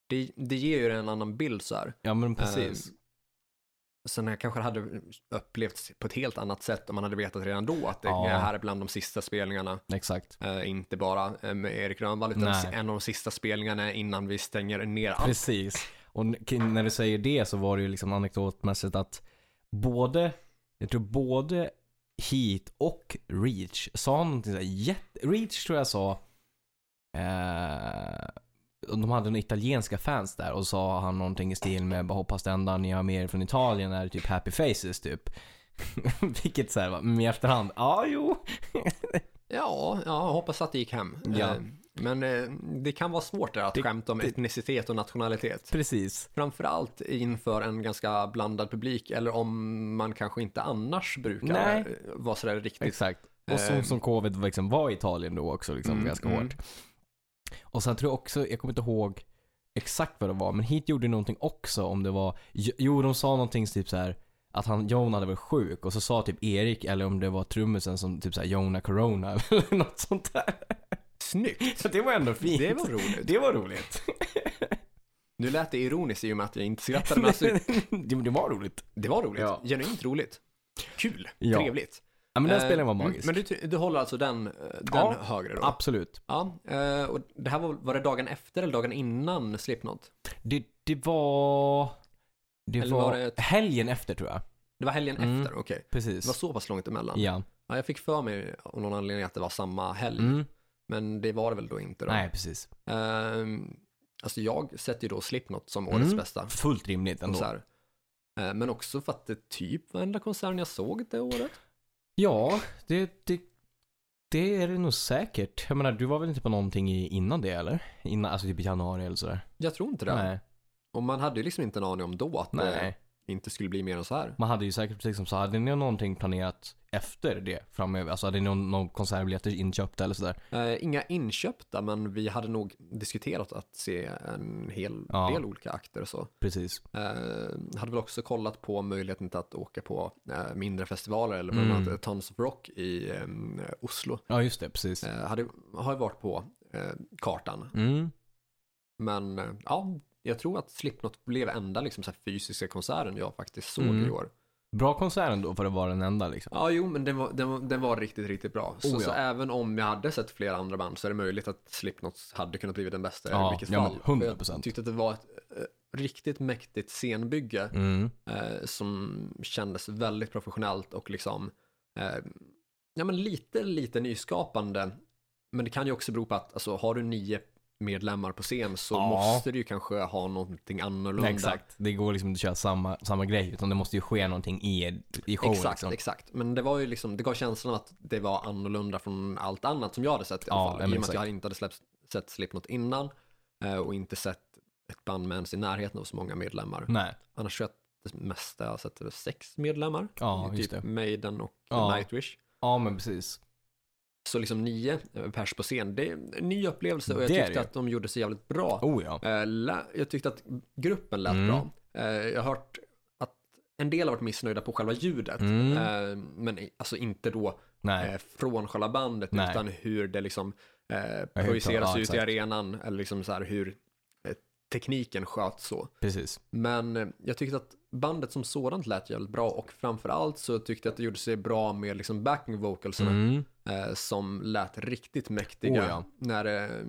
[SPEAKER 1] det, det ger ju en annan bild så här.
[SPEAKER 2] ja men precis.
[SPEAKER 1] Eh, Sen jag kanske hade upplevt på ett helt annat sätt om man hade vetat redan då att det
[SPEAKER 2] Ja.
[SPEAKER 1] här är bland de sista spelningarna,
[SPEAKER 2] Exakt.
[SPEAKER 1] eh, inte bara eh, med Erik Grönvall, utan
[SPEAKER 2] Nej.
[SPEAKER 1] en av de sista spelningarna innan vi stänger ner allt.
[SPEAKER 2] Precis. Och n- k- när du säger det så var det ju liksom anekdotmässigt att både, jag tror både Heat och Reach sa någonting såhär jätte... Reach tror jag sa... Eh, de hade några italienska fans där och sa han någonting i stil med bara hoppas det enda ni har med er från Italien är typ happy faces typ. Vilket såhär, men i efterhand, ja ah, jo.
[SPEAKER 1] Ja, ja, jag hoppas att det gick hem.
[SPEAKER 2] Ja.
[SPEAKER 1] Eh, Men eh, det kan vara svårt där att skämta om etnicitet och nationalitet.
[SPEAKER 2] Precis.
[SPEAKER 1] Framförallt inför en ganska blandad publik eller om man kanske inte annars brukar
[SPEAKER 2] Nej.
[SPEAKER 1] eh, vara sådär riktigt.
[SPEAKER 2] Exakt. Och
[SPEAKER 1] Ehm.
[SPEAKER 2] som, som covid liksom var i Italien då också liksom
[SPEAKER 1] Mm,
[SPEAKER 2] ganska
[SPEAKER 1] mm.
[SPEAKER 2] hårt. Och sen tror jag också, jag kommer inte ihåg exakt vad det var, men Heat gjorde någonting också om det var, jo de sa någonting typ så här att han, Jon hade varit sjuk och så sa typ Erik eller om det var trummisen som typ såhär Jona Corona eller något sånt där.
[SPEAKER 1] Snyggt!
[SPEAKER 2] Så det var ändå fint.
[SPEAKER 1] Det var roligt.
[SPEAKER 2] Det var roligt.
[SPEAKER 1] Nu lät det ironiskt i och med att jag inte skrattade, men alltså,
[SPEAKER 2] det, det var roligt.
[SPEAKER 1] det var roligt.
[SPEAKER 2] Ja.
[SPEAKER 1] Genuint roligt. Kul,
[SPEAKER 2] Ja.
[SPEAKER 1] trevligt.
[SPEAKER 2] Ja men den
[SPEAKER 1] Eh,
[SPEAKER 2] spelningen var
[SPEAKER 1] mm,
[SPEAKER 2] magisk.
[SPEAKER 1] Men du, ty- du håller alltså den, eh, den
[SPEAKER 2] Ja.
[SPEAKER 1] högre då?
[SPEAKER 2] Absolut.
[SPEAKER 1] Ja. eh, Och det här var, var det dagen efter eller dagen innan Slipknot?
[SPEAKER 2] Det, det var... Det
[SPEAKER 1] Eller
[SPEAKER 2] var,
[SPEAKER 1] var det ett-
[SPEAKER 2] helgen efter tror jag.
[SPEAKER 1] Det var helgen
[SPEAKER 2] Mm.
[SPEAKER 1] efter, okej. Det var
[SPEAKER 2] Precis.
[SPEAKER 1] så pass långt emellan.
[SPEAKER 2] Ja.
[SPEAKER 1] Ja, jag fick för mig av någon anledning att det var samma helg,
[SPEAKER 2] Mm.
[SPEAKER 1] men det var det väl då inte då?
[SPEAKER 2] Nej, precis.
[SPEAKER 1] Ehm, alltså jag sätter ju då Slipknot som årets
[SPEAKER 2] Mm.
[SPEAKER 1] bästa
[SPEAKER 2] Fullt rimligt ändå.
[SPEAKER 1] konsert. Eh, Men också för att det typ var enda konserten jag såg det året.
[SPEAKER 2] Ja, det, det, det är det nog säkert. Jag menar, du var väl inte på någonting i, innan det eller? Innan, alltså typ i januari eller sådär?
[SPEAKER 1] Jag Eh. tror inte det.
[SPEAKER 2] Nej.
[SPEAKER 1] Och man hade ju liksom inte en aning om då att det
[SPEAKER 2] Nej.
[SPEAKER 1] inte skulle bli mer än så här.
[SPEAKER 2] Man hade ju säkert, precis som så hade ni någonting planerat efter det framöver? Alltså hade ni någon, någon konsertbiljetter inköpta eller sådär?
[SPEAKER 1] Eh, inga inköpta, men vi hade nog diskuterat att se en hel
[SPEAKER 2] Ja.
[SPEAKER 1] del olika akter och så.
[SPEAKER 2] Precis.
[SPEAKER 1] Eh, hade väl också kollat på möjligheten till att åka på eh, mindre festivaler eller bland
[SPEAKER 2] Mm.
[SPEAKER 1] annat Tons of Rock i eh, Oslo.
[SPEAKER 2] Ja, just det. Precis.
[SPEAKER 1] Eh, hade, har ju varit på eh, kartan.
[SPEAKER 2] Mm.
[SPEAKER 1] Men eh, ja, jag tror att Slipknot blev enda liksom, så här, fysiska konserten jag faktiskt såg
[SPEAKER 2] Mm.
[SPEAKER 1] i år.
[SPEAKER 2] Bra konsert ändå för att vara den enda liksom.
[SPEAKER 1] Ja, jo, men den var, den var, den var riktigt, riktigt bra. Så,
[SPEAKER 2] Oh, ja.
[SPEAKER 1] så även om jag hade sett flera andra band så är det möjligt att Slipknot hade kunnat bli den bästa
[SPEAKER 2] Ja,
[SPEAKER 1] i vilket
[SPEAKER 2] ja, men
[SPEAKER 1] fall.
[SPEAKER 2] 100%.
[SPEAKER 1] För Jag tyckte att det var ett eh, riktigt mäktigt scenbygge
[SPEAKER 2] Mm.
[SPEAKER 1] eh, som kändes väldigt professionellt och liksom eh, ja, men lite, lite nyskapande. Men det kan ju också bero på att alltså, har du nio medlemmar på scen så
[SPEAKER 2] Ja.
[SPEAKER 1] måste du ju kanske ha någonting annorlunda.
[SPEAKER 2] Exakt. Det går liksom inte att köra samma, samma grej utan det måste ju ske någonting i, i showen
[SPEAKER 1] exakt,
[SPEAKER 2] liksom.
[SPEAKER 1] exakt. Men det var ju liksom, det gav känslan att det var annorlunda från allt annat som jag hade sett i alla
[SPEAKER 2] Ja,
[SPEAKER 1] fall.
[SPEAKER 2] ja,
[SPEAKER 1] I och
[SPEAKER 2] men
[SPEAKER 1] med att jag
[SPEAKER 2] exakt.
[SPEAKER 1] inte hade släppt, sett Slipknot innan eh, och inte sett ett band med ens i närheten av så många medlemmar.
[SPEAKER 2] Nej.
[SPEAKER 1] Annars tror jag att det mesta jag har sett är sex medlemmar.
[SPEAKER 2] Ja,
[SPEAKER 1] typ
[SPEAKER 2] just det.
[SPEAKER 1] Maiden och
[SPEAKER 2] Ja.
[SPEAKER 1] Nightwish.
[SPEAKER 2] Ja, men precis.
[SPEAKER 1] Så liksom nio eh, pers på scen, det är en ny upplevelse och jag
[SPEAKER 2] Det är
[SPEAKER 1] tyckte
[SPEAKER 2] det ju.
[SPEAKER 1] att de gjorde sig jävligt bra.
[SPEAKER 2] Oh ja.
[SPEAKER 1] Eh, lä- Jag tyckte att gruppen lät
[SPEAKER 2] Mm.
[SPEAKER 1] bra. Eh, Jag har hört att en del har varit missnöjda på själva ljudet.
[SPEAKER 2] Mm.
[SPEAKER 1] eh, Men i- alltså inte då
[SPEAKER 2] Nej.
[SPEAKER 1] eh, från själva bandet
[SPEAKER 2] Nej.
[SPEAKER 1] utan hur det liksom eh,
[SPEAKER 2] Ja,
[SPEAKER 1] projiceras
[SPEAKER 2] ja,
[SPEAKER 1] ut i
[SPEAKER 2] exakt.
[SPEAKER 1] arenan eller liksom så här hur eh, tekniken sköts så.
[SPEAKER 2] Precis.
[SPEAKER 1] Men eh, jag tyckte att bandet som sådant lät jävligt bra och framförallt så tyckte jag att det gjorde sig bra med liksom backing vocalserna
[SPEAKER 2] Mm.
[SPEAKER 1] eh, som lät riktigt mäktiga.
[SPEAKER 2] Oh ja.
[SPEAKER 1] När det,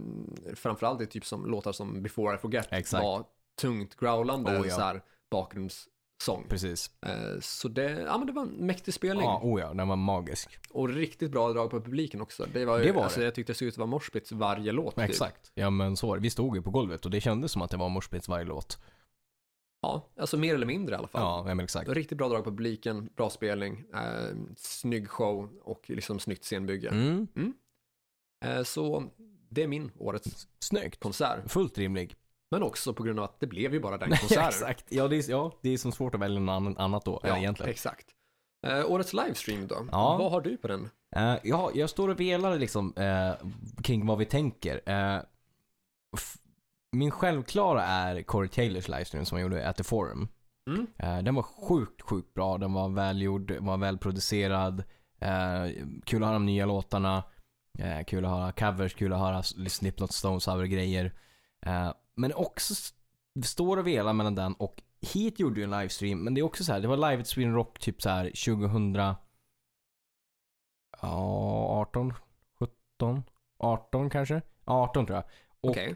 [SPEAKER 1] framförallt i typ som låtar som Before I Forget
[SPEAKER 2] Exakt.
[SPEAKER 1] var tungt growlande
[SPEAKER 2] Oh ja.
[SPEAKER 1] så här, bakgrundssång.
[SPEAKER 2] Precis.
[SPEAKER 1] Eh, så det, ja, men det var en mäktig spelning
[SPEAKER 2] Ja, oh ja. Den var magisk.
[SPEAKER 1] och riktigt bra drag på publiken också. Det var, ju,
[SPEAKER 2] Det var
[SPEAKER 1] alltså,
[SPEAKER 2] det.
[SPEAKER 1] Jag tyckte det såg ut att vara moshpits varje låt. typ.
[SPEAKER 2] Exakt. Ja, men så var det. Vi stod ju på golvet och det kändes som att det var morspits varje låt.
[SPEAKER 1] Ja, alltså mer eller mindre i alla fall.
[SPEAKER 2] Ja, ja men exakt.
[SPEAKER 1] Riktigt bra drag på publiken, bra spelning, eh, snygg show och liksom snyggt scenbygge.
[SPEAKER 2] Mm.
[SPEAKER 1] Eh, så det är min årets
[SPEAKER 2] Snyggt.
[SPEAKER 1] konsert.
[SPEAKER 2] Fullt rimlig.
[SPEAKER 1] Men också på grund av att det blev ju bara den
[SPEAKER 2] Ja,
[SPEAKER 1] konserten.
[SPEAKER 2] exakt. Ja, det är, ja, det är som svårt att välja något annan- annat då, ja, egentligen.
[SPEAKER 1] Exakt. Eh, årets livestream då?
[SPEAKER 2] Ja.
[SPEAKER 1] Vad har du på den?
[SPEAKER 2] Eh, ja, jag står och velar liksom eh, kring vad vi tänker. Eh, f- min självklara är Corey Taylors livestream som jag gjorde at the forum.
[SPEAKER 1] Mm.
[SPEAKER 2] Eh, den var sjukt, sjukt bra. Den var välgjord, var välproducerad. Eh, kul att höra de nya låtarna. Eh, kul att höra covers, kul att höra Slipknot Stones över grejer. Eh, men också s- står och velar mellan den och Heat gjorde ju en livestream. Men det är också så här, det var live at Sweden Rock typ så här 2000 Ja, 18, 17, 18 kanske? Ja, 18 tror jag. Och-
[SPEAKER 1] Okej.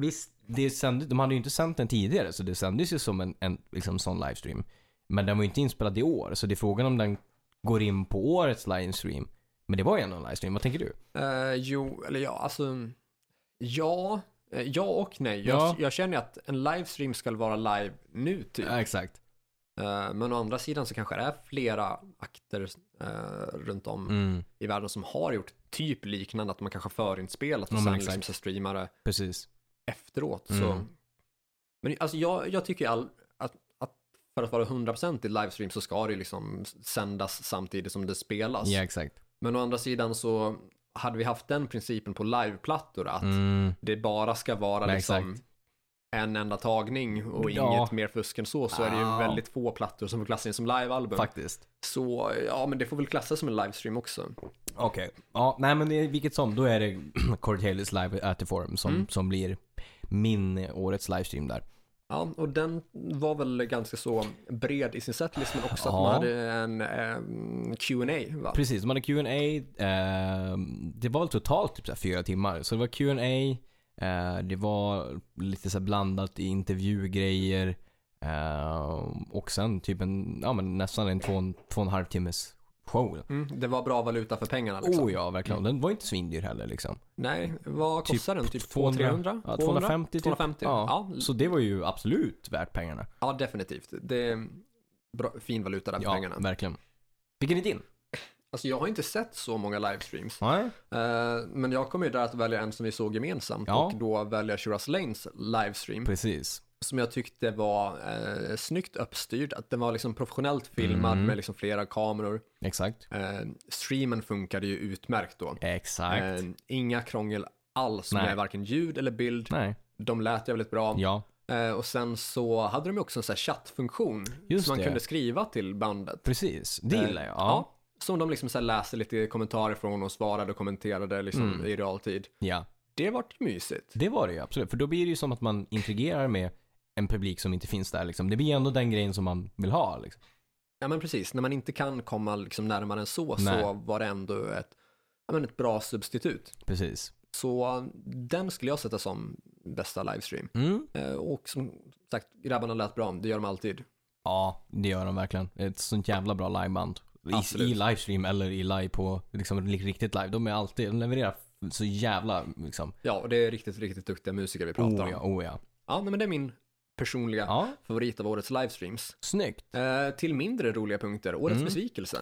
[SPEAKER 2] Visst, det sände, de hade ju inte sänt den tidigare så det sändes ju som en, en liksom, sån livestream. Men den var ju inte inspelad i år så det är frågan om den går in på årets livestream. Men det var ju ändå en livestream, vad tänker du?
[SPEAKER 1] Eh, jo, eller ja, alltså. Ja, eh, ja och nej. Jag,
[SPEAKER 2] Ja.
[SPEAKER 1] jag känner ju att en livestream ska vara live nu typ.
[SPEAKER 2] exakt.
[SPEAKER 1] Eh, men å andra sidan så kanske det är flera akter eh, runt om
[SPEAKER 2] Mm,
[SPEAKER 1] i världen som har gjort typ liknande, att man kanske har förinspelat och
[SPEAKER 2] Ja, men
[SPEAKER 1] sen
[SPEAKER 2] exakt.
[SPEAKER 1] liksom så streamar det
[SPEAKER 2] precis.
[SPEAKER 1] efteråt.
[SPEAKER 2] Mm.
[SPEAKER 1] Så. Men alltså jag, jag tycker ju all, att, att för att vara 100% i livestream så ska det ju liksom sändas samtidigt som det spelas.
[SPEAKER 2] Ja, exakt.
[SPEAKER 1] Men å andra sidan så hade vi haft den principen på liveplattor att
[SPEAKER 2] Mm,
[SPEAKER 1] det bara ska vara
[SPEAKER 2] Nej,
[SPEAKER 1] liksom en enda tagning och
[SPEAKER 2] Ja.
[SPEAKER 1] inget mer fusk än så så är det ju
[SPEAKER 2] Ja.
[SPEAKER 1] väldigt få plattor som får klassas in som livealbum.
[SPEAKER 2] faktiskt.
[SPEAKER 1] Så ja, men det får väl klassas som en livestream också.
[SPEAKER 2] Okej. Ja, nej men det, är- vilket som, då är det Corey Taylors live at the forum som, som blir min eh, årets livestream där.
[SPEAKER 1] Ja, och den var väl ganska så bred i sin setlist, men också att
[SPEAKER 2] Ja.
[SPEAKER 1] man hade en eh, Q&A va?
[SPEAKER 2] Precis, de hade Q&A eh, Det var väl totalt typ så här fyra timmar. Så det var Q&A eh, Det var lite så här blandat i intervjugrejer. Eh, och sen typ en, ja men nästan en två, och en- två och en halv timmes show.
[SPEAKER 1] Mm, det var bra valuta för pengarna liksom.
[SPEAKER 2] Oh ja, verkligen. Den var inte svindyr heller liksom.
[SPEAKER 1] Nej, vad kostar den? Typ 200, 300?
[SPEAKER 2] Ja, 250 typ.
[SPEAKER 1] 250, ja.
[SPEAKER 2] Ja. Så det var ju absolut värt pengarna.
[SPEAKER 1] Ja, definitivt. Det är bra, fin valuta där för
[SPEAKER 2] Ja,
[SPEAKER 1] pengarna.
[SPEAKER 2] verkligen. Vilken är din?
[SPEAKER 1] Alltså jag har inte sett så många livestreams,
[SPEAKER 2] Nej.
[SPEAKER 1] eh, men jag kommer ju där att välja en som vi såg gemensamt
[SPEAKER 2] Ja.
[SPEAKER 1] och då välja Shuras Lanes livestream.
[SPEAKER 2] Precis.
[SPEAKER 1] som jag tyckte var eh, snyggt uppstyrd. Att den var liksom professionellt filmad
[SPEAKER 2] Mm.
[SPEAKER 1] med liksom flera kameror.
[SPEAKER 2] Exakt.
[SPEAKER 1] Eh, streamen funkade ju utmärkt då.
[SPEAKER 2] Exakt.
[SPEAKER 1] Eh, inga krångel alls
[SPEAKER 2] Nej.
[SPEAKER 1] med varken ljud eller bild.
[SPEAKER 2] Nej.
[SPEAKER 1] De lät jävligt bra.
[SPEAKER 2] Ja.
[SPEAKER 1] Eh, och sen så hade de ju också en sån här chattfunktion
[SPEAKER 2] Just
[SPEAKER 1] som man
[SPEAKER 2] det.
[SPEAKER 1] kunde skriva till bandet.
[SPEAKER 2] Precis. Det gillar jag. Ja.
[SPEAKER 1] Eh, Ja, som de liksom så här läste lite kommentarer från och svarade och kommenterade liksom
[SPEAKER 2] Mm.
[SPEAKER 1] i realtid.
[SPEAKER 2] ja.
[SPEAKER 1] Det vart ju mysigt.
[SPEAKER 2] Det var det ju absolut. För då blir det ju som att man interagerar med en publik som inte finns där. Liksom. Det blir ju ändå den grejen som man vill ha. Liksom.
[SPEAKER 1] Ja men precis, när man inte kan komma liksom närmare än så så
[SPEAKER 2] Nej.
[SPEAKER 1] var det ändå ett, ja, men ett bra substitut.
[SPEAKER 2] Precis.
[SPEAKER 1] Så eh, den skulle jag sätta som bästa livestream.
[SPEAKER 2] Mm.
[SPEAKER 1] Eh, Och som sagt, grabbarna lät bra, det gör de alltid.
[SPEAKER 2] Ja, det gör de verkligen. Ett sånt jävla bra liveband. I,
[SPEAKER 1] Absolut.
[SPEAKER 2] I livestream eller i live på liksom, li- riktigt live. De är alltid, de levererar så jävla liksom.
[SPEAKER 1] Ja, och det är riktigt, riktigt duktiga musiker vi pratar
[SPEAKER 2] Oh ja,
[SPEAKER 1] om.
[SPEAKER 2] oh ja.
[SPEAKER 1] Ja, nej, men det är min personliga
[SPEAKER 2] Ja,
[SPEAKER 1] favorit av årets livestreams.
[SPEAKER 2] snyggt.
[SPEAKER 1] Eh, till mindre roliga punkter, årets
[SPEAKER 2] Mm.
[SPEAKER 1] besvikelse.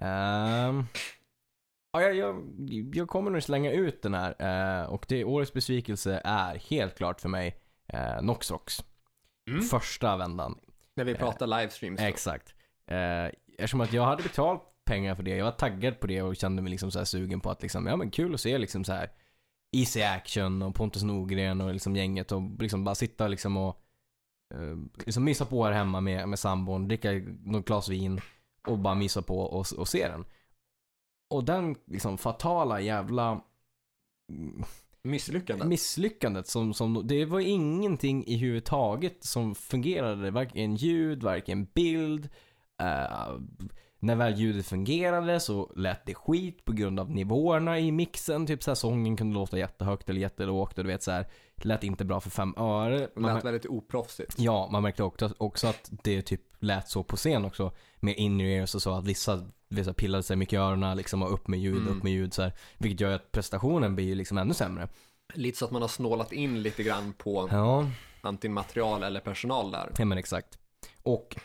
[SPEAKER 2] Ehm, ja, jag, jag, jag kommer nog slänga ut den här eh, och det årets besvikelse är helt klart för mig uh, Noxrox.
[SPEAKER 1] Mm.
[SPEAKER 2] Första vändan.
[SPEAKER 1] När
[SPEAKER 2] Eh,
[SPEAKER 1] vi pratar livestreams.
[SPEAKER 2] Exakt. Uh, eftersom att jag hade betalt pengar för det. Jag var taggad på det och kände mig liksom så här sugen på att liksom, ja men kul att se liksom så här Easy Action och Pontus Norgren och liksom gänget och liksom bara sitta liksom och eh, liksom mysa på här hemma med, med sambon, dricka något glas vin och bara mysa på och, och se den. Och den liksom fatala jävla
[SPEAKER 1] Misslyckande.
[SPEAKER 2] misslyckandet som, som, det var ingenting i huvud taget som fungerade. Varken ljud, varken bild. Eh, när väl ljudet fungerade så lät det skit på grund av nivåerna i mixen. Typ såhär sången kunde låta jättehögt eller jättelågt och du vet såhär. Lät inte bra för fem öre.
[SPEAKER 1] Det
[SPEAKER 2] Man-
[SPEAKER 1] lät väldigt oproffsigt.
[SPEAKER 2] Ja, man märkte också, också att det typ lät så på scen också. Med in-ears och så, att vissa, vissa pillade sig mycket i öronen liksom och upp med ljud,
[SPEAKER 1] Mm.
[SPEAKER 2] upp med ljud så här. Vilket gör ju att prestationen blir ju liksom ännu sämre.
[SPEAKER 1] Lite så att man har snålat in lite grann på
[SPEAKER 2] Ja,
[SPEAKER 1] antingen material eller personal där.
[SPEAKER 2] ja men exakt. Och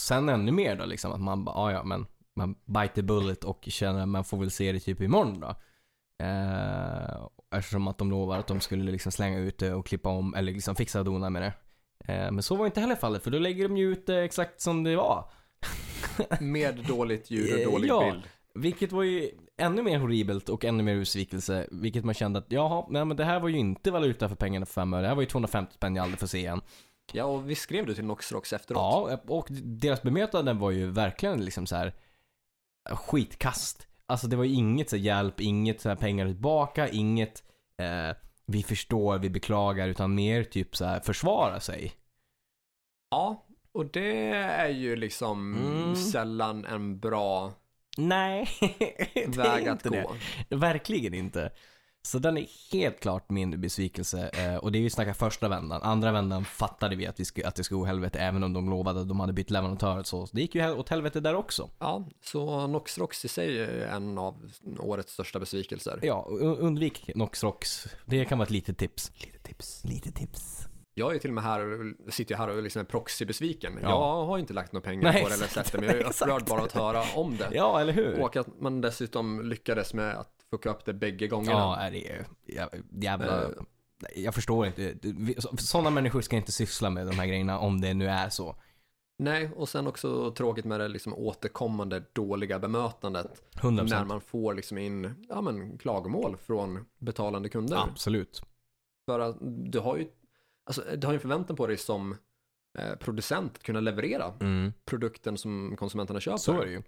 [SPEAKER 2] sen ännu mer då liksom att man bara, "Ah, ja men man bite the bullet och känner att man får väl se det typ imorgon då. Eh, eftersom att de lovar att de skulle liksom slänga ut det och klippa om eller liksom fixa och dona med det. Eh, men så var inte heller fallet för då lägger de ju ut det exakt som det var.
[SPEAKER 1] Med dåligt ljud
[SPEAKER 2] Eh,
[SPEAKER 1] och dålig
[SPEAKER 2] ja.
[SPEAKER 1] bild.
[SPEAKER 2] Vilket var ju ännu mer horribelt och ännu mer besvikelse. Vilket man kände att jaha, nej men det här var ju inte valuta för pengarna för fem öre. Det här var ju 250 spänn jag aldrig får se igen.
[SPEAKER 1] Ja, och vi skrev det till Noxrox efteråt.
[SPEAKER 2] Ja, och deras bemötande var ju verkligen liksom så här skitkast. Alltså det var ju inget så här hjälp, inget så här pengar tillbaka, inget eh, vi förstår, vi beklagar, utan mer typ så här försvara sig.
[SPEAKER 1] Ja, och det är ju liksom
[SPEAKER 2] Mm.
[SPEAKER 1] sällan en bra
[SPEAKER 2] Nej, det är
[SPEAKER 1] väg att
[SPEAKER 2] inte
[SPEAKER 1] gå.
[SPEAKER 2] det. Verkligen inte. Så den är helt klart min besvikelse. eh, Och det är ju snacka första vändan. Andra vändan fattade vi att, vi skulle, att det skulle gå åt helvete även om de lovade att de hade bytt leverantör. och Så Så det gick ju hel- åt helvete där också.
[SPEAKER 1] Ja, så Noxrox i sig är en av årets största besvikelser.
[SPEAKER 2] Ja, u- undvik Noxrox. Det kan vara ett litet tips. Lite tips. Lite tips.
[SPEAKER 1] Jag är ju till och med här, sitter ju här och liksom är proxybesviken.
[SPEAKER 2] Ja.
[SPEAKER 1] Jag har ju inte lagt några pengar
[SPEAKER 2] Nej,
[SPEAKER 1] på det eller
[SPEAKER 2] exakt.
[SPEAKER 1] sett det, men jag är
[SPEAKER 2] Exakt.
[SPEAKER 1] upprörd bara att höra om det.
[SPEAKER 2] Ja, eller hur?
[SPEAKER 1] Och att man dessutom lyckades med att fucka upp det bägge gångerna.
[SPEAKER 2] ja, är det är jä- jävla...
[SPEAKER 1] Eh.
[SPEAKER 2] Nej, Jag förstår inte. Sådana människor ska inte syssla med de här grejerna om det nu är så.
[SPEAKER 1] Nej, och sen också tråkigt med det liksom återkommande dåliga bemötandet.
[SPEAKER 2] 100%.
[SPEAKER 1] När man får liksom in ja, men, klagomål från betalande kunder.
[SPEAKER 2] Absolut.
[SPEAKER 1] För att du har ju, alltså, du har ju en förväntan på dig som eh, producent att kunna leverera
[SPEAKER 2] Mm.
[SPEAKER 1] produkten som konsumenterna köper.
[SPEAKER 2] Så är det ju.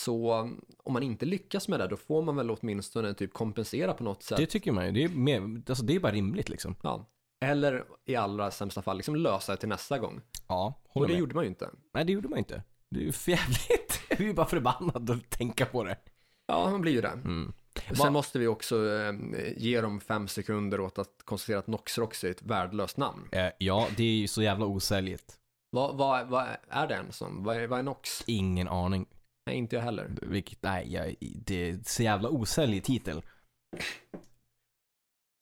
[SPEAKER 1] Så um, om man inte lyckas med det, då får man väl åtminstone typ kompensera på något sätt.
[SPEAKER 2] Det tycker man ju. Det är, mer, alltså det är bara rimligt liksom.
[SPEAKER 1] Ja. Eller i allra sämsta fall, liksom lösa det till nästa gång.
[SPEAKER 2] Ja,
[SPEAKER 1] Och
[SPEAKER 2] håller
[SPEAKER 1] det
[SPEAKER 2] med.
[SPEAKER 1] gjorde man ju inte.
[SPEAKER 2] Nej, det gjorde man inte. Det är ju för jävligt. Vi är ju bara förbannade att tänka på det.
[SPEAKER 1] Ja, man blir ju det.
[SPEAKER 2] Mm.
[SPEAKER 1] Sen måste vi också eh, ge dem fem sekunder åt att konstatera att Noxrox är ett värdelöst namn.
[SPEAKER 2] Eh, ja, det är ju så jävla osäljigt.
[SPEAKER 1] Vad, vad, vad är det ens som? Vad är, vad är Nox?
[SPEAKER 2] Ingen aning.
[SPEAKER 1] Nej, inte jag heller.
[SPEAKER 2] Vilket, nej, jag, det är så jävla osäljig titel.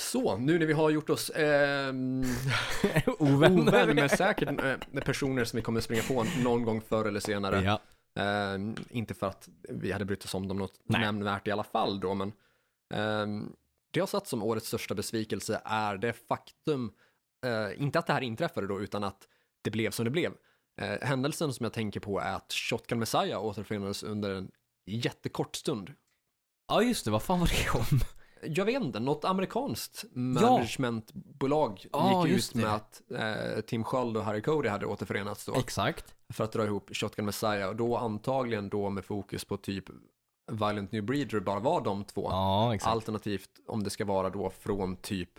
[SPEAKER 1] Så, nu när vi har gjort oss eh,
[SPEAKER 2] Ovänner.
[SPEAKER 1] ovän med säkert eh, personer som vi kommer springa på någon gång förr eller senare.
[SPEAKER 2] Ja.
[SPEAKER 1] Eh, inte för att vi hade brytt oss om dem något
[SPEAKER 2] Nej.
[SPEAKER 1] nämnvärt i alla fall då, ehm, men eh, det jag satt som årets största besvikelse är det faktum eh, inte att det här inträffade då, utan att det blev som det blev. Eh, händelsen som jag tänker på är att Shotgun Messiah återförenades under en jättekort stund.
[SPEAKER 2] Ja just det, vad fan var det om?
[SPEAKER 1] Jag vet inte, något amerikanskt managementbolag
[SPEAKER 2] Ja,
[SPEAKER 1] gick
[SPEAKER 2] just
[SPEAKER 1] ut med
[SPEAKER 2] det.
[SPEAKER 1] att eh, Tim Sköld och Harry Cody hade återförenats då
[SPEAKER 2] Exakt.
[SPEAKER 1] för att dra ihop Shotgun Messiah och då antagligen då med fokus på typ Violent New Breeder bara var de två.
[SPEAKER 2] Ja, exakt.
[SPEAKER 1] Alternativt om det ska vara då från typ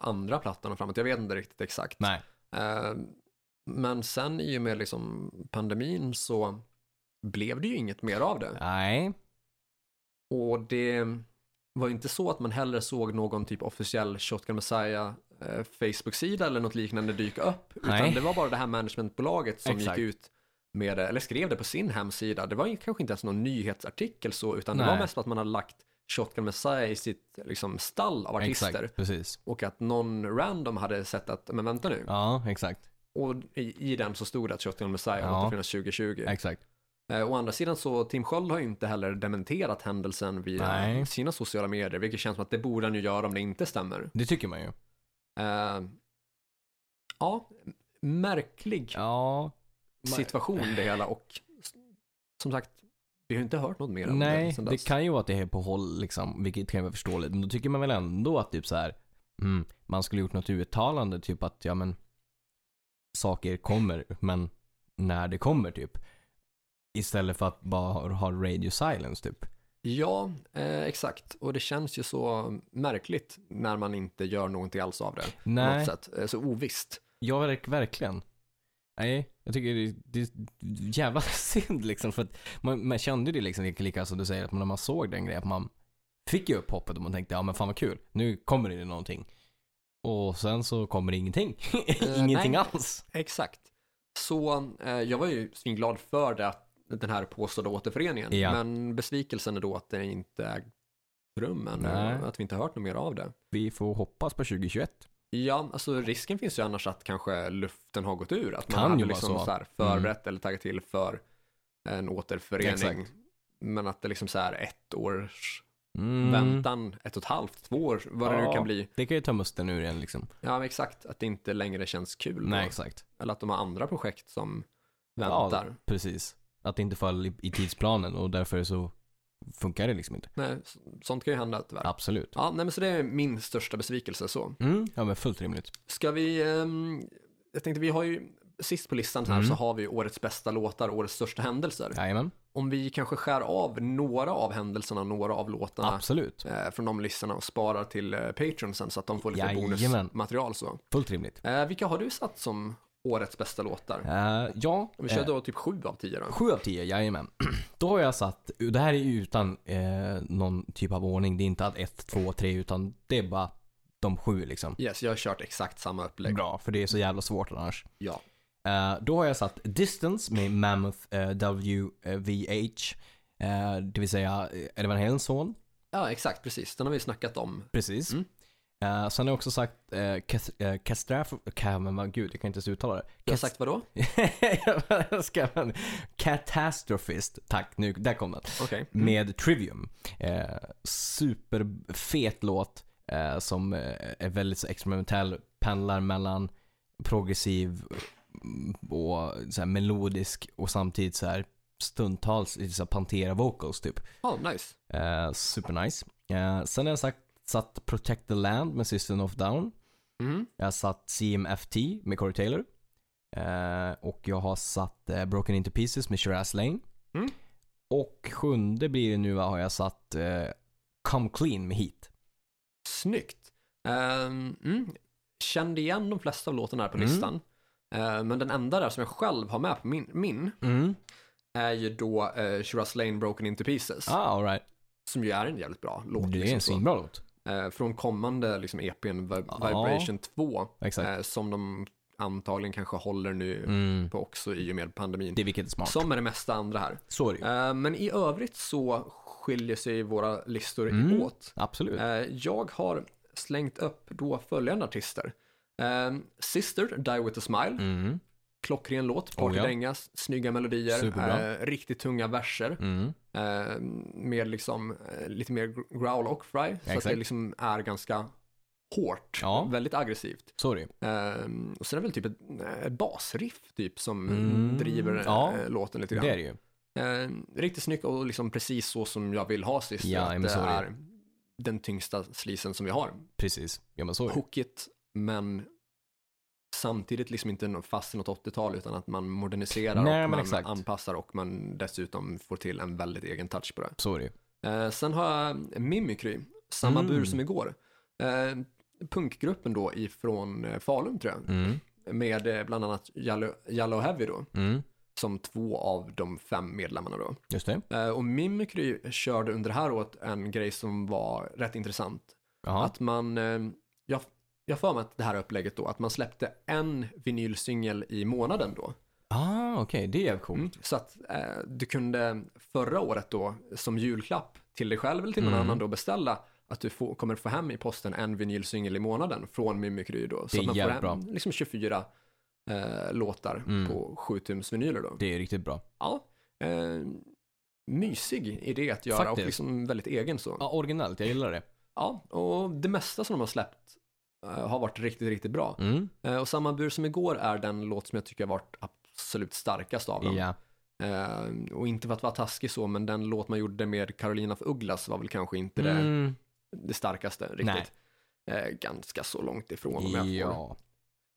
[SPEAKER 1] andra plattan och framåt. Jag vet inte riktigt exakt.
[SPEAKER 2] Nej.
[SPEAKER 1] Eh, Men sen i och med liksom pandemin så blev det ju inget mer av det.
[SPEAKER 2] Nej.
[SPEAKER 1] Och det var ju inte så att man hellre såg någon typ officiell Shotgun Messiah eh, Facebook-sida eller något liknande dyka upp. Utan
[SPEAKER 2] Nej.
[SPEAKER 1] det var bara det här managementbolaget som
[SPEAKER 2] Exakt.
[SPEAKER 1] gick ut med det, eller skrev det på sin hemsida. Det var ju kanske inte ens någon nyhetsartikel så, utan det
[SPEAKER 2] Nej.
[SPEAKER 1] var mest att man hade lagt Shotgun Messiah i sitt liksom, stall av artister.
[SPEAKER 2] Exakt, precis.
[SPEAKER 1] Och att någon random hade sett att, men vänta nu.
[SPEAKER 2] Ja, exakt.
[SPEAKER 1] Och i, i den så stod det att Shotgun Messiah
[SPEAKER 2] Ja.
[SPEAKER 1] återfinns 2020.
[SPEAKER 2] Exakt.
[SPEAKER 1] Eh, Å andra sidan så Tim Sköld har ju inte heller dementerat händelsen via
[SPEAKER 2] Nej.
[SPEAKER 1] sina sociala medier, vilket känns som att det borde han ju göra om det inte stämmer.
[SPEAKER 2] Det tycker man ju.
[SPEAKER 1] Eh, ja, märklig
[SPEAKER 2] Ja.
[SPEAKER 1] situation det hela och s- som sagt, vi har ju inte hört något mer om det liksom
[SPEAKER 2] Nej,
[SPEAKER 1] sen
[SPEAKER 2] det
[SPEAKER 1] dess.
[SPEAKER 2] kan ju vara att det är på håll liksom, vilket kan ju vara förståeligt. Men då tycker man väl ändå att typ så här, mm, man skulle gjort något uttalande, typ att ja men saker kommer, men när det kommer typ. Istället för att bara ha- ha radio silence typ.
[SPEAKER 1] Ja, eh, exakt. Och det känns ju så märkligt när man inte gör någonting alls av det. På något
[SPEAKER 2] Nej,
[SPEAKER 1] sätt. Eh, Så ovisst.
[SPEAKER 2] jag verk, verkligen. Nej, jag tycker det, det är jävla synd liksom. För att man, man kände ju det liksom, lika- lika som du säger, att när man såg den grejen, att man fick ju upp hoppet och man tänkte, ja men fan vad kul, nu kommer det ju någonting. Och sen så kommer det ingenting. ingenting
[SPEAKER 1] nej.
[SPEAKER 2] alls.
[SPEAKER 1] Exakt. Så eh, jag var ju svinglad för det, att den här påstådda återföreningen.
[SPEAKER 2] Ja.
[SPEAKER 1] Men besvikelsen är då att det inte ägt rum än
[SPEAKER 2] Nej.
[SPEAKER 1] och att vi inte hört något mer av det.
[SPEAKER 2] Vi får hoppas på 2021.
[SPEAKER 1] Ja, alltså risken finns ju annars att kanske luften har gått ur. Att man
[SPEAKER 2] Kan ju
[SPEAKER 1] hade
[SPEAKER 2] vara
[SPEAKER 1] liksom
[SPEAKER 2] så. Mm.
[SPEAKER 1] så här förberett eller tagit till för en återförening.
[SPEAKER 2] Exakt.
[SPEAKER 1] Men att det liksom så här ett års
[SPEAKER 2] Mm.
[SPEAKER 1] väntan, ett och ett halvt, två år, vad det nu
[SPEAKER 2] Ja.
[SPEAKER 1] kan bli.
[SPEAKER 2] Det kan ju ta musten ur en liksom.
[SPEAKER 1] Ja, men exakt. Att det inte längre känns kul.
[SPEAKER 2] Nej,
[SPEAKER 1] då.
[SPEAKER 2] exakt.
[SPEAKER 1] Eller att de har andra projekt som
[SPEAKER 2] Ja.
[SPEAKER 1] väntar.
[SPEAKER 2] Precis. Att det inte föll i, i tidsplanen och därför så funkar det liksom inte.
[SPEAKER 1] Nej, så- sånt kan ju hända tyvärr. Ja.
[SPEAKER 2] Absolut.
[SPEAKER 1] nej men så det är min största besvikelse så.
[SPEAKER 2] Mm. Ja men fullt rimligt.
[SPEAKER 1] Ska vi, ehm, jag tänkte vi har ju, sist på listan här
[SPEAKER 2] Mm.
[SPEAKER 1] så har vi årets bästa låtar, årets största händelser.
[SPEAKER 2] Jajamän.
[SPEAKER 1] Om vi kanske skär av några av händelserna, några av låtarna
[SPEAKER 2] Absolut.
[SPEAKER 1] eh, från de listorna och sparar till eh, Patreon sen så att de får lite
[SPEAKER 2] Jajamän.
[SPEAKER 1] bonusmaterial så.
[SPEAKER 2] Fullt rimligt.
[SPEAKER 1] Eh, vilka har du satt som årets bästa låtar?
[SPEAKER 2] Eh, ja.
[SPEAKER 1] Vi kör
[SPEAKER 2] eh,
[SPEAKER 1] då typ sju av tio då.
[SPEAKER 2] Sju av tio, jajamän. Då har jag satt, det här är ju utan eh, någon typ av ordning. Det är inte att ett, två, tre utan det är bara de sju liksom.
[SPEAKER 1] Yes, jag har kört exakt samma upplägg.
[SPEAKER 2] Bra, för det är så jävla svårt annars.
[SPEAKER 1] Ja.
[SPEAKER 2] Eh, då har jag satt Distance med Mammoth eh, WVH. Eh, det vill säga eh, Edvin Hellens son.
[SPEAKER 1] ja, exakt, precis. Den har vi snackat om.
[SPEAKER 2] Precis.
[SPEAKER 1] Mm.
[SPEAKER 2] Eh, sen har jag också sagt eh, Kath- eh, Castraf... Ka- men vad gud, jag kan inte ens uttala det.
[SPEAKER 1] Du har
[SPEAKER 2] Kas-
[SPEAKER 1] sagt vadå?
[SPEAKER 2] jag ska, men, Catastrophist. Tack, nu, där kom den.
[SPEAKER 1] Okej.
[SPEAKER 2] med Trivium. Eh, superfet låt eh, som eh, är väldigt så experimentell, pendlar mellan progressiv mm, och så här melodisk och samtidigt så här stundtals lite så här Pantera vocals typ.
[SPEAKER 1] Ja, nice.
[SPEAKER 2] Eh, supernice. Eh, sen har jag sagt, satt Protect the Land med System of Down.
[SPEAKER 1] Mhm.
[SPEAKER 2] Jag har satt CMFT med Corey Taylor. Eh, och jag har satt eh, Broken Into Pieces med Shiraz Lane.
[SPEAKER 1] Mm.
[SPEAKER 2] Och sjunde blir det nu va, har jag satt eh, Come Clean med Heat.
[SPEAKER 1] Snyggt. Ehm, mm. Kände igen de flesta av låtarna här på
[SPEAKER 2] Mm.
[SPEAKER 1] listan. Eh, men den enda där som jag själv har med på min, min är ju då eh, Shiraz Lane Broken Into Pieces.
[SPEAKER 2] Ah, all right.
[SPEAKER 1] Som ju är en jävligt bra låt. liksom
[SPEAKER 2] Det är en
[SPEAKER 1] så.
[SPEAKER 2] svinbra låt.
[SPEAKER 1] Eh, från kommande liksom, EPn Vib-
[SPEAKER 2] Ja.
[SPEAKER 1] Vibration 2.
[SPEAKER 2] Exakt.
[SPEAKER 1] eh, som de antagligen kanske håller nu
[SPEAKER 2] Mm.
[SPEAKER 1] på också i och med pandemin.
[SPEAKER 2] Det är vilket är smart.
[SPEAKER 1] Som är det mesta andra här.
[SPEAKER 2] Så är det ju.
[SPEAKER 1] Eh, men i övrigt så skiljer sig våra listor
[SPEAKER 2] Mm.
[SPEAKER 1] åt.
[SPEAKER 2] Absolut.
[SPEAKER 1] Eh, Jag har slängt upp då följande artister. Eh, Sister, Die With A Smile,
[SPEAKER 2] Mm.
[SPEAKER 1] klockren låt,
[SPEAKER 2] Oh, ja.
[SPEAKER 1] partydänga, snygga melodier,
[SPEAKER 2] Superbra.
[SPEAKER 1] eh, riktigt tunga verser,
[SPEAKER 2] Mm.
[SPEAKER 1] eh, med liksom eh, lite mer growl och fry, så att det
[SPEAKER 2] exakt.
[SPEAKER 1] liksom är ganska hårt,
[SPEAKER 2] Ja.
[SPEAKER 1] väldigt aggressivt.
[SPEAKER 2] Sorry.
[SPEAKER 1] Ehm, och sen är det väl typ ett, ett basriff typ som
[SPEAKER 2] Mm,
[SPEAKER 1] driver eh,
[SPEAKER 2] ja.
[SPEAKER 1] låten lite grann.
[SPEAKER 2] Det är det ju.
[SPEAKER 1] Ehm, riktigt snyggt och liksom precis så som jag vill ha sist.
[SPEAKER 2] Ja,
[SPEAKER 1] att
[SPEAKER 2] men
[SPEAKER 1] det
[SPEAKER 2] så är det.
[SPEAKER 1] är den tyngsta slisen som vi har.
[SPEAKER 2] Precis. Ja men så är det.
[SPEAKER 1] Hookigt, men samtidigt liksom inte någon fast i något 80-tal utan att man moderniserar
[SPEAKER 2] Nej,
[SPEAKER 1] och
[SPEAKER 2] men
[SPEAKER 1] man
[SPEAKER 2] exakt.
[SPEAKER 1] anpassar och man dessutom får till en väldigt egen touch på det.
[SPEAKER 2] Så är det ju.
[SPEAKER 1] Eh, sen har jag Mimikry, samma
[SPEAKER 2] Mm.
[SPEAKER 1] bur som igår. Eh, punkgruppen då ifrån eh, Falun tror jag,
[SPEAKER 2] Mm.
[SPEAKER 1] med eh, bland annat Yellow, Yellow Heavy då,
[SPEAKER 2] Mm.
[SPEAKER 1] som två av de fem medlemmarna då.
[SPEAKER 2] Just det.
[SPEAKER 1] Eh, och Mimikry körde under det här året en grej som var rätt intressant.
[SPEAKER 2] Jaha.
[SPEAKER 1] Att man, eh, jag, jag för mig att det här upplägget då, att man släppte en vinylsingel i månaden då.
[SPEAKER 2] Ah, okej. Det är jävligt coolt.
[SPEAKER 1] Mm. Så att eh, du kunde förra året då som julklapp till dig själv eller till någon
[SPEAKER 2] Mm.
[SPEAKER 1] annan då beställa att du får, kommer få hem i posten en vinylsingel i månaden från Mimikry då.
[SPEAKER 2] Det är
[SPEAKER 1] så man får
[SPEAKER 2] jävligt
[SPEAKER 1] hem
[SPEAKER 2] bra.
[SPEAKER 1] liksom 24 eh, låtar
[SPEAKER 2] Mm.
[SPEAKER 1] på 7 tums vinyler då.
[SPEAKER 2] Det är riktigt bra.
[SPEAKER 1] Ja, eh, mysig idé att göra och
[SPEAKER 2] Faktiskt.
[SPEAKER 1] liksom väldigt egen så.
[SPEAKER 2] Ja, originellt. Jag gillar det.
[SPEAKER 1] Ja, och det mesta som de har släppt eh, har varit riktigt, riktigt bra.
[SPEAKER 2] Mm.
[SPEAKER 1] Eh, och Samma bur som igår är den låt som jag tycker har varit absolut starkast av dem.
[SPEAKER 2] Ja.
[SPEAKER 1] Eh, och inte för att vara taskig så, men den låt man gjorde med Carolina af Ugglas var väl kanske inte det,
[SPEAKER 2] Mm.
[SPEAKER 1] det starkaste riktigt. Eh, ganska så långt ifrån om jag får
[SPEAKER 2] Ja.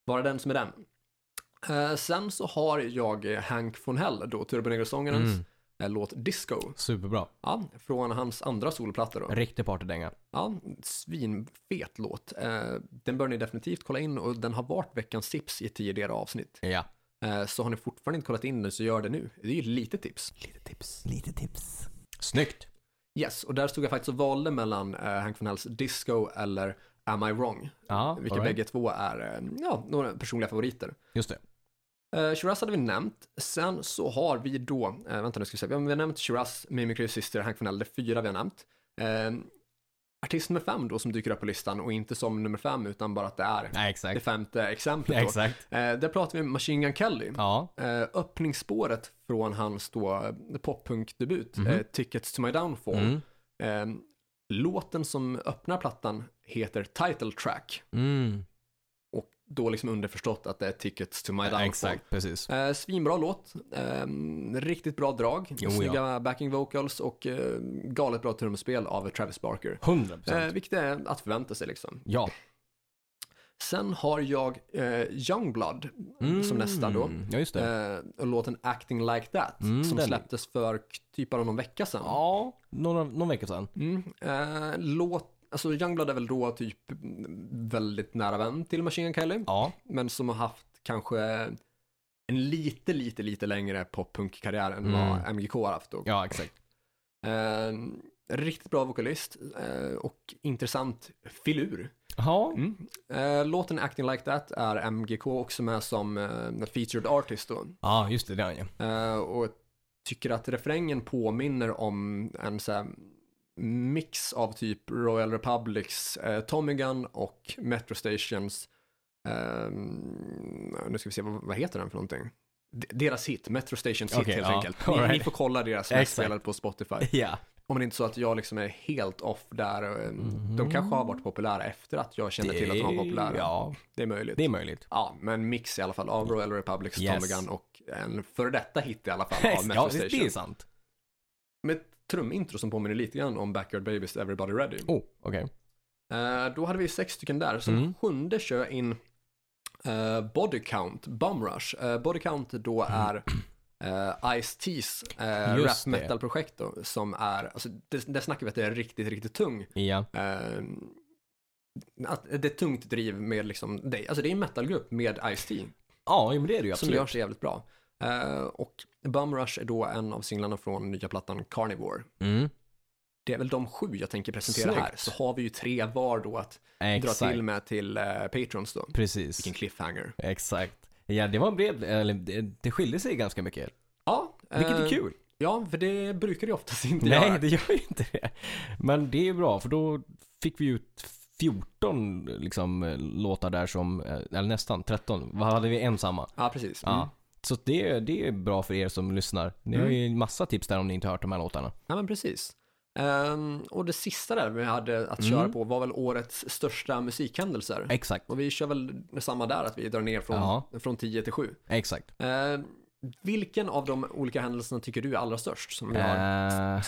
[SPEAKER 1] vara den som är den. Eh, sen så har jag eh, Hank von Hell, då Turbonegro-sångarens
[SPEAKER 2] Mm.
[SPEAKER 1] eh, låt Disco.
[SPEAKER 2] Superbra.
[SPEAKER 1] Ja, från hans andra solplatta då.
[SPEAKER 2] Riktig partydänga.
[SPEAKER 1] Ja, svinfet låt. Eh, den bör ni definitivt kolla in och den har varit veckans tips i tidigare avsnitt.
[SPEAKER 2] Ja.
[SPEAKER 1] Eh, så har ni fortfarande inte kollat in den så gör det nu. Det är ju lite tips.
[SPEAKER 2] Lite tips. Lite tips. Snyggt.
[SPEAKER 1] Yes, och där stod jag faktiskt och valde mellan eh, Hank von Hells Disco eller Am I Wrong?
[SPEAKER 2] Ja,
[SPEAKER 1] Vilka
[SPEAKER 2] all right.
[SPEAKER 1] bägge två är eh, ja, några personliga favoriter.
[SPEAKER 2] Just det.
[SPEAKER 1] Eh, Shiraz hade vi nämnt. Sen så har vi då, eh, vänta nu ska vi se, vi har, vi har nämnt Shiraz, Mimicry Sister, Hank von Helder, fyra vi har nämnt. Eh, artist nummer fem då som dyker upp på listan och inte som nummer fem utan bara att det är
[SPEAKER 2] Nej,
[SPEAKER 1] det
[SPEAKER 2] exakt.
[SPEAKER 1] femte exemplet. Då.
[SPEAKER 2] Exakt.
[SPEAKER 1] Eh, där pratar vi om Machine Gun Kelly.
[SPEAKER 2] Ja.
[SPEAKER 1] Eh, öppningsspåret från hans då eh, poppunkdebut, eh, Tickets to my downfall.
[SPEAKER 2] Mhm. Mm.
[SPEAKER 1] Eh, låten som öppnar plattan heter Title Track
[SPEAKER 2] Mm.
[SPEAKER 1] och då liksom underförstått att det är Tickets to my downfall.
[SPEAKER 2] Eh, Exakt, precis.
[SPEAKER 1] Eh, svinbra låt, eh, riktigt bra drag,
[SPEAKER 2] Jo,
[SPEAKER 1] snygga backing vocals och eh, galet bra trumspel av Travis Barker.
[SPEAKER 2] 100 procent.
[SPEAKER 1] Eh, vilket är att förvänta sig liksom.
[SPEAKER 2] ja.
[SPEAKER 1] Sen har jag eh, Youngblood
[SPEAKER 2] Mm.
[SPEAKER 1] som nästa då.
[SPEAKER 2] Ja, just det.
[SPEAKER 1] Eh, och låten Acting Like That
[SPEAKER 2] Mm,
[SPEAKER 1] som
[SPEAKER 2] den.
[SPEAKER 1] släpptes för k- typ bara någon vecka sedan.
[SPEAKER 2] Ja, någon, någon vecka sedan.
[SPEAKER 1] Mm, eh, låt, alltså Youngblood är väl då typ väldigt nära vän till Machine Gun Kelly,
[SPEAKER 2] Ja.
[SPEAKER 1] men som har haft kanske en lite, lite, lite längre poppunkkarriär än vad
[SPEAKER 2] Mm.
[SPEAKER 1] MGK har haft då.
[SPEAKER 2] Ja, exakt.
[SPEAKER 1] Eh, riktigt bra vokalist eh, och intressant filur.
[SPEAKER 2] Ja.
[SPEAKER 1] Eh, låten Acting Like That är MGK också med som eh, featured artist då.
[SPEAKER 2] Ja, just det. Det är han ju.
[SPEAKER 1] Eh, och tycker att refrängen påminner om en så här mix av typ Royal Republics eh, Tommy Gun och Metro Stations, ehm, nu ska vi se, vad, vad heter den för någonting? D- Deras hit, Metro Stations hit
[SPEAKER 2] Okej,
[SPEAKER 1] helt
[SPEAKER 2] ja.
[SPEAKER 1] enkelt. Ni,
[SPEAKER 2] All right.
[SPEAKER 1] ni får kolla deras
[SPEAKER 2] Exakt.
[SPEAKER 1] mest spelade på Spotify.
[SPEAKER 2] Ja.
[SPEAKER 1] Om det inte är så att jag liksom är helt off där. eh, De kanske har varit populära efter att jag kände till att de var populära.
[SPEAKER 2] Mm-hmm. Ja,
[SPEAKER 1] Det är möjligt.
[SPEAKER 2] det är möjligt.
[SPEAKER 1] Ja, men mix i alla fall av Royal Republics,
[SPEAKER 2] Yes.
[SPEAKER 1] Tommy Gun och en före detta hit i alla fall av Metro
[SPEAKER 2] ja, det det är
[SPEAKER 1] Station.
[SPEAKER 2] sant.
[SPEAKER 1] Med ett trumintro som påminner lite grann om Backyard Babies Everybody Ready.
[SPEAKER 2] Oh, okej.
[SPEAKER 1] Eh, då hade vi sex stycken där. Som
[SPEAKER 2] Mm.
[SPEAKER 1] sjunde kör jag in eh, Body Count, Bum Rush. Eh, Body Count då är eh, Ice-T's eh,
[SPEAKER 2] Mm. Just
[SPEAKER 1] rap
[SPEAKER 2] det.
[SPEAKER 1] metal-projekt då, som är, alltså, det, där snackar vi att det är riktigt, riktigt tung
[SPEAKER 2] Ja.
[SPEAKER 1] Eh, att det är ett tungt driv med liksom, det, alltså det är en metalgrupp med Ice-T
[SPEAKER 2] Ja, men det är det
[SPEAKER 1] som
[SPEAKER 2] ju absolut.
[SPEAKER 1] gör sig jävligt bra. Eh, och Bum Rush är då en av singlarna från nya plattan Carnivore.
[SPEAKER 2] Mm.
[SPEAKER 1] Det är väl de sju jag tänker presentera
[SPEAKER 2] Snyggt.
[SPEAKER 1] här. Så har vi ju tre var då att dra till
[SPEAKER 2] Exakt.
[SPEAKER 1] med till eh, Patrons då.
[SPEAKER 2] Precis.
[SPEAKER 1] Vilken cliffhanger.
[SPEAKER 2] Exakt. Ja, det var en bred, eller det, det skilde sig ganska mycket.
[SPEAKER 1] Ja, eh,
[SPEAKER 2] Vilket är kul.
[SPEAKER 1] Ja, för det brukar det oftast inte
[SPEAKER 2] Nej,
[SPEAKER 1] göra.
[SPEAKER 2] det gör ju inte det. Men det är bra, för då fick vi ut 14 liksom, eh, låtar där som, eh, eller nästan 13. Vad hade vi ensamma?
[SPEAKER 1] Ja, precis.
[SPEAKER 2] Ja.
[SPEAKER 1] Mm.
[SPEAKER 2] Så Mm. det, det är bra för er som lyssnar. Ni har ju en massa tips där om ni inte har hört de här låtarna.
[SPEAKER 1] Ja, men precis. Ehm, och det sista där vi hade
[SPEAKER 2] Mm.
[SPEAKER 1] att köra på var väl årets största musikhändelser.
[SPEAKER 2] Exakt,
[SPEAKER 1] Och vi kör väl samma där, att vi drar ner från,
[SPEAKER 2] Ja.
[SPEAKER 1] från 10 till 7.
[SPEAKER 2] exakt.
[SPEAKER 1] Ehm, vilken av de olika händelserna tycker du är allra störst som vi har
[SPEAKER 2] Eh,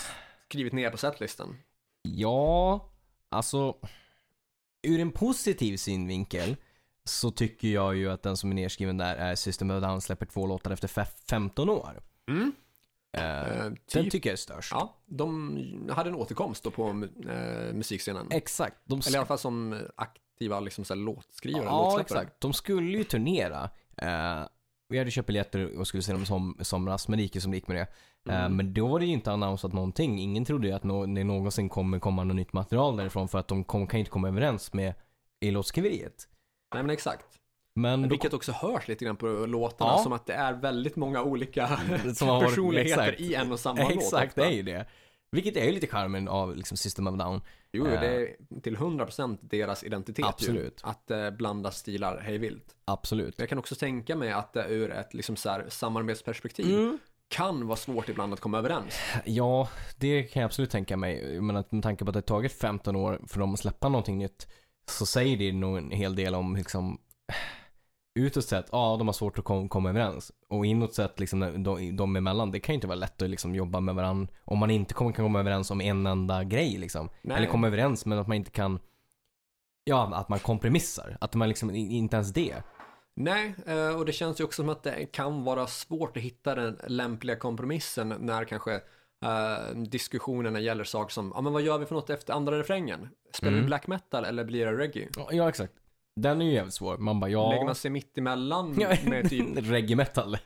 [SPEAKER 1] skrivit ner på setlistan?
[SPEAKER 2] Ja, alltså ur en positiv synvinkel så tycker jag ju att den som är nedskriven där är System of a Down släpper två låtar efter fe- 15 år.
[SPEAKER 1] Mm.
[SPEAKER 2] Eh,
[SPEAKER 1] Ehm,
[SPEAKER 2] den
[SPEAKER 1] typ-
[SPEAKER 2] tycker jag är störst.
[SPEAKER 1] Ja, de hade en återkomst då på eh, musikscenen.
[SPEAKER 2] Exakt. De
[SPEAKER 1] Eller i alla fall som aktiva liksom, så här, låtskrivare,
[SPEAKER 2] Ja,
[SPEAKER 1] låtskrivare.
[SPEAKER 2] exakt. De skulle ju turnera. Eh, vi hade köpt biljetter och skulle se dem som, i somras, men det gick ju som det gick med det. Eh,
[SPEAKER 1] Mm.
[SPEAKER 2] Men då var det ju inte annonsat någonting. Ingen trodde ju att nå- det någonsin kommer komma något nytt material därifrån för att de kom, kan ju inte komma överens med i låtskriveriet.
[SPEAKER 1] Nej, men exakt.
[SPEAKER 2] Men då
[SPEAKER 1] Vilket också hörs lite grann på låtarna,
[SPEAKER 2] Ja.
[SPEAKER 1] som att det är väldigt många olika
[SPEAKER 2] Som har varit-
[SPEAKER 1] personligheter
[SPEAKER 2] exakt.
[SPEAKER 1] i en och samma låt.
[SPEAKER 2] Exakt,
[SPEAKER 1] ofta.
[SPEAKER 2] det är ju det. Vilket är ju lite charmen av liksom, System of a Down.
[SPEAKER 1] Jo, jo, det är till 100% deras identitet
[SPEAKER 2] Eh. Absolut.
[SPEAKER 1] ju, att eh, blanda stilar hej vilt.
[SPEAKER 2] Absolut.
[SPEAKER 1] Jag kan också tänka mig att det ur ett liksom, så här, samarbetsperspektiv
[SPEAKER 2] Mm.
[SPEAKER 1] kan vara svårt ibland att komma överens.
[SPEAKER 2] Ja, det kan jag absolut tänka mig. Men att med tanke på att det har tagit 15 år för dem att släppa någonting nytt så säger det nog en hel del om liksom utåt sett, ja de har svårt att kom, komma överens. Och inåt sett, liksom, när de, de emellan, det kan ju inte vara lätt att liksom, jobba med varandra om man inte kommer, kan komma överens om en enda grej. Liksom.
[SPEAKER 1] Nej.
[SPEAKER 2] Eller komma överens men att man inte kan, ja att man kompromissar. Att man liksom, i- inte ens det.
[SPEAKER 1] Nej, eh, och det känns ju också som att det kan vara svårt att hitta den lämpliga kompromissen när kanske eh, diskussionerna gäller saker som, ja men vad gör vi för något efter andra refrängen? Spelar
[SPEAKER 2] Mm.
[SPEAKER 1] vi black metal eller blir det reggae?
[SPEAKER 2] Ja, Ja, exakt. Den är ju jävligt svår. Man bara, ja...
[SPEAKER 1] Lägger man sig mitt emellan
[SPEAKER 2] Ja,
[SPEAKER 1] med typ,
[SPEAKER 2] Reggae metal.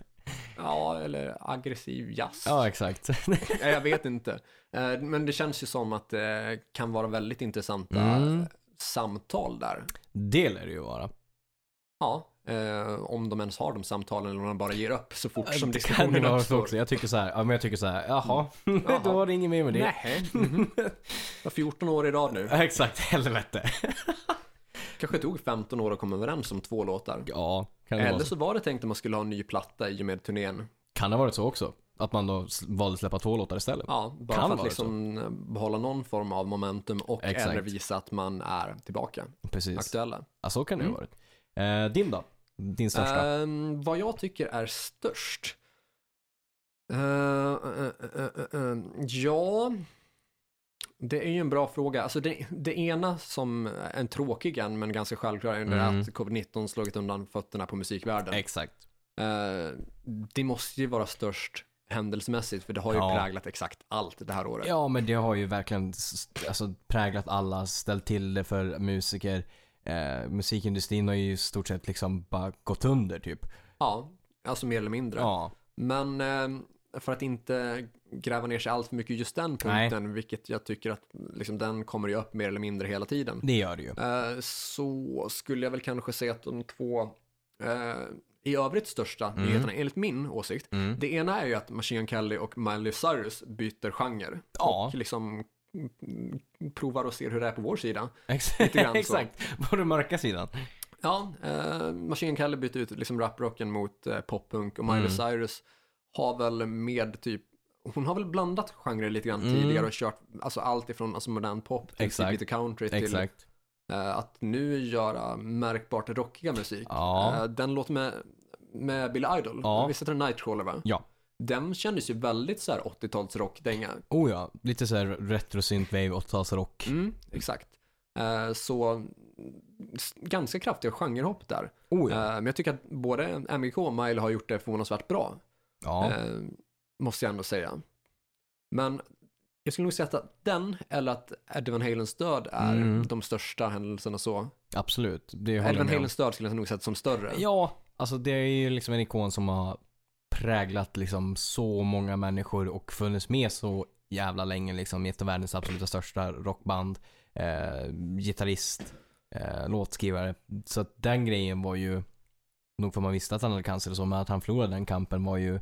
[SPEAKER 1] ja eller aggressiv jazz?
[SPEAKER 2] Ja, exakt.
[SPEAKER 1] Ja, jag vet inte. Eh, Men det känns ju som att det kan vara väldigt intressanta
[SPEAKER 2] Mm.
[SPEAKER 1] samtal där.
[SPEAKER 2] det lär det ju vara.
[SPEAKER 1] Ja, eh, om de ens har de samtalen eller om de bara ger upp så fort som
[SPEAKER 2] Det kan ju
[SPEAKER 1] diskussionen
[SPEAKER 2] vara så
[SPEAKER 1] uppstår. Mm.
[SPEAKER 2] också. Jag tycker så här, ja, men jag tycker så här, jaha, då var det inget mer med det.
[SPEAKER 1] Nej. Jag har 14 år i rad nu.
[SPEAKER 2] Ja, Exakt, helvete.
[SPEAKER 1] Kanske tog 15 år att komma överens om två låtar.
[SPEAKER 2] Ja, kan det,
[SPEAKER 1] Eller
[SPEAKER 2] vara så?
[SPEAKER 1] så var det tänkt att man skulle ha en ny platta i och med turnén.
[SPEAKER 2] kan det ha varit så också? Att man då s- valde att släppa två låtar istället?
[SPEAKER 1] Ja, bara
[SPEAKER 2] Kan
[SPEAKER 1] för att
[SPEAKER 2] vara
[SPEAKER 1] liksom behålla någon form av momentum och
[SPEAKER 2] Exakt.
[SPEAKER 1] eller visa att man är tillbaka,
[SPEAKER 2] Precis.
[SPEAKER 1] aktuella.
[SPEAKER 2] Ja, så kan det
[SPEAKER 1] Mm.
[SPEAKER 2] ha varit. Eh, din då? Din största?
[SPEAKER 1] Ehm, vad jag tycker är störst? Eh, eh, eh, eh, eh, ja, det är ju en bra fråga. Alltså det, det ena som är en tråkig en, men ganska självklar, är ju det
[SPEAKER 2] Mm.
[SPEAKER 1] att covid-19 slagit undan fötterna på musikvärlden.
[SPEAKER 2] Exakt.
[SPEAKER 1] Eh, det måste ju vara störst händelsemässigt, för det har ju
[SPEAKER 2] Ja.
[SPEAKER 1] präglat exakt allt det här året.
[SPEAKER 2] Ja, men det har ju verkligen s- alltså, präglat alla, ställt till det för musiker. Eh, musikindustrin har ju i stort sett liksom bara gått under typ.
[SPEAKER 1] Ja, alltså mer eller mindre.
[SPEAKER 2] Ja.
[SPEAKER 1] Men eh, för att inte gräva ner sig allt för mycket i just den
[SPEAKER 2] Nej.
[SPEAKER 1] punkten, vilket jag tycker att liksom, den kommer ju upp mer eller mindre hela tiden,
[SPEAKER 2] Det gör det ju.
[SPEAKER 1] eh, så skulle jag väl kanske säga att de två eh, i övrigt största
[SPEAKER 2] Mm.
[SPEAKER 1] nyheterna, enligt min åsikt, det ena är ju att Machine Gun Kelly och Miley Cyrus byter genre
[SPEAKER 2] Ja.
[SPEAKER 1] och liksom mm, provar och ser hur det är på vår sida.
[SPEAKER 2] Exakt.
[SPEAKER 1] grann så.
[SPEAKER 2] Exakt. På den mörka sidan.
[SPEAKER 1] Ja, eh, Machine Gun Kelly bytte ut liksom raprocken mot eh, poppunk och Miley
[SPEAKER 2] Mm.
[SPEAKER 1] Cyrus har väl med typ hon har väl blandat genrer lite grann tidigare och kört alltså allt ifrån alltså modern pop till typ
[SPEAKER 2] Mm. Exakt.
[SPEAKER 1] lite country till
[SPEAKER 2] Exakt.
[SPEAKER 1] eh, att nu göra märkbart rockiga musik.
[SPEAKER 2] Ja.
[SPEAKER 1] Eh, den låten med, med Billy Idol,
[SPEAKER 2] Ja.
[SPEAKER 1] visst heter den Nightcrawler va?
[SPEAKER 2] Ja.
[SPEAKER 1] Den kändes ju väldigt så här 80-talsrockdänga.
[SPEAKER 2] Oh ja. Lite såhär retro synthwave 80-talsrock.
[SPEAKER 1] Mm, exakt. Eh, så s- ganska kraftiga genrehopp där.
[SPEAKER 2] Oh ja.
[SPEAKER 1] Eh, Men jag tycker att både MGK och Mile har gjort det förvånansvärt bra.
[SPEAKER 2] ja.
[SPEAKER 1] Eh, måste jag ändå säga. Men jag skulle nog säga att den eller att Eddie Van Halens död är
[SPEAKER 2] Mm.
[SPEAKER 1] de största händelserna så.
[SPEAKER 2] absolut. Det håller
[SPEAKER 1] Eddie
[SPEAKER 2] jag
[SPEAKER 1] Van
[SPEAKER 2] med om.
[SPEAKER 1] Halens död skulle jag nog sett som större.
[SPEAKER 2] Ja. Alltså det är ju liksom en ikon som har präglat liksom så många människor och funnits med så jävla länge liksom. Ett av världens absoluta största rockband. Eh, gitarrist. Eh, låtskrivare. Så att den grejen var ju, nog för man visste att han hade cancer och så, men att han förlorade den kampen var ju,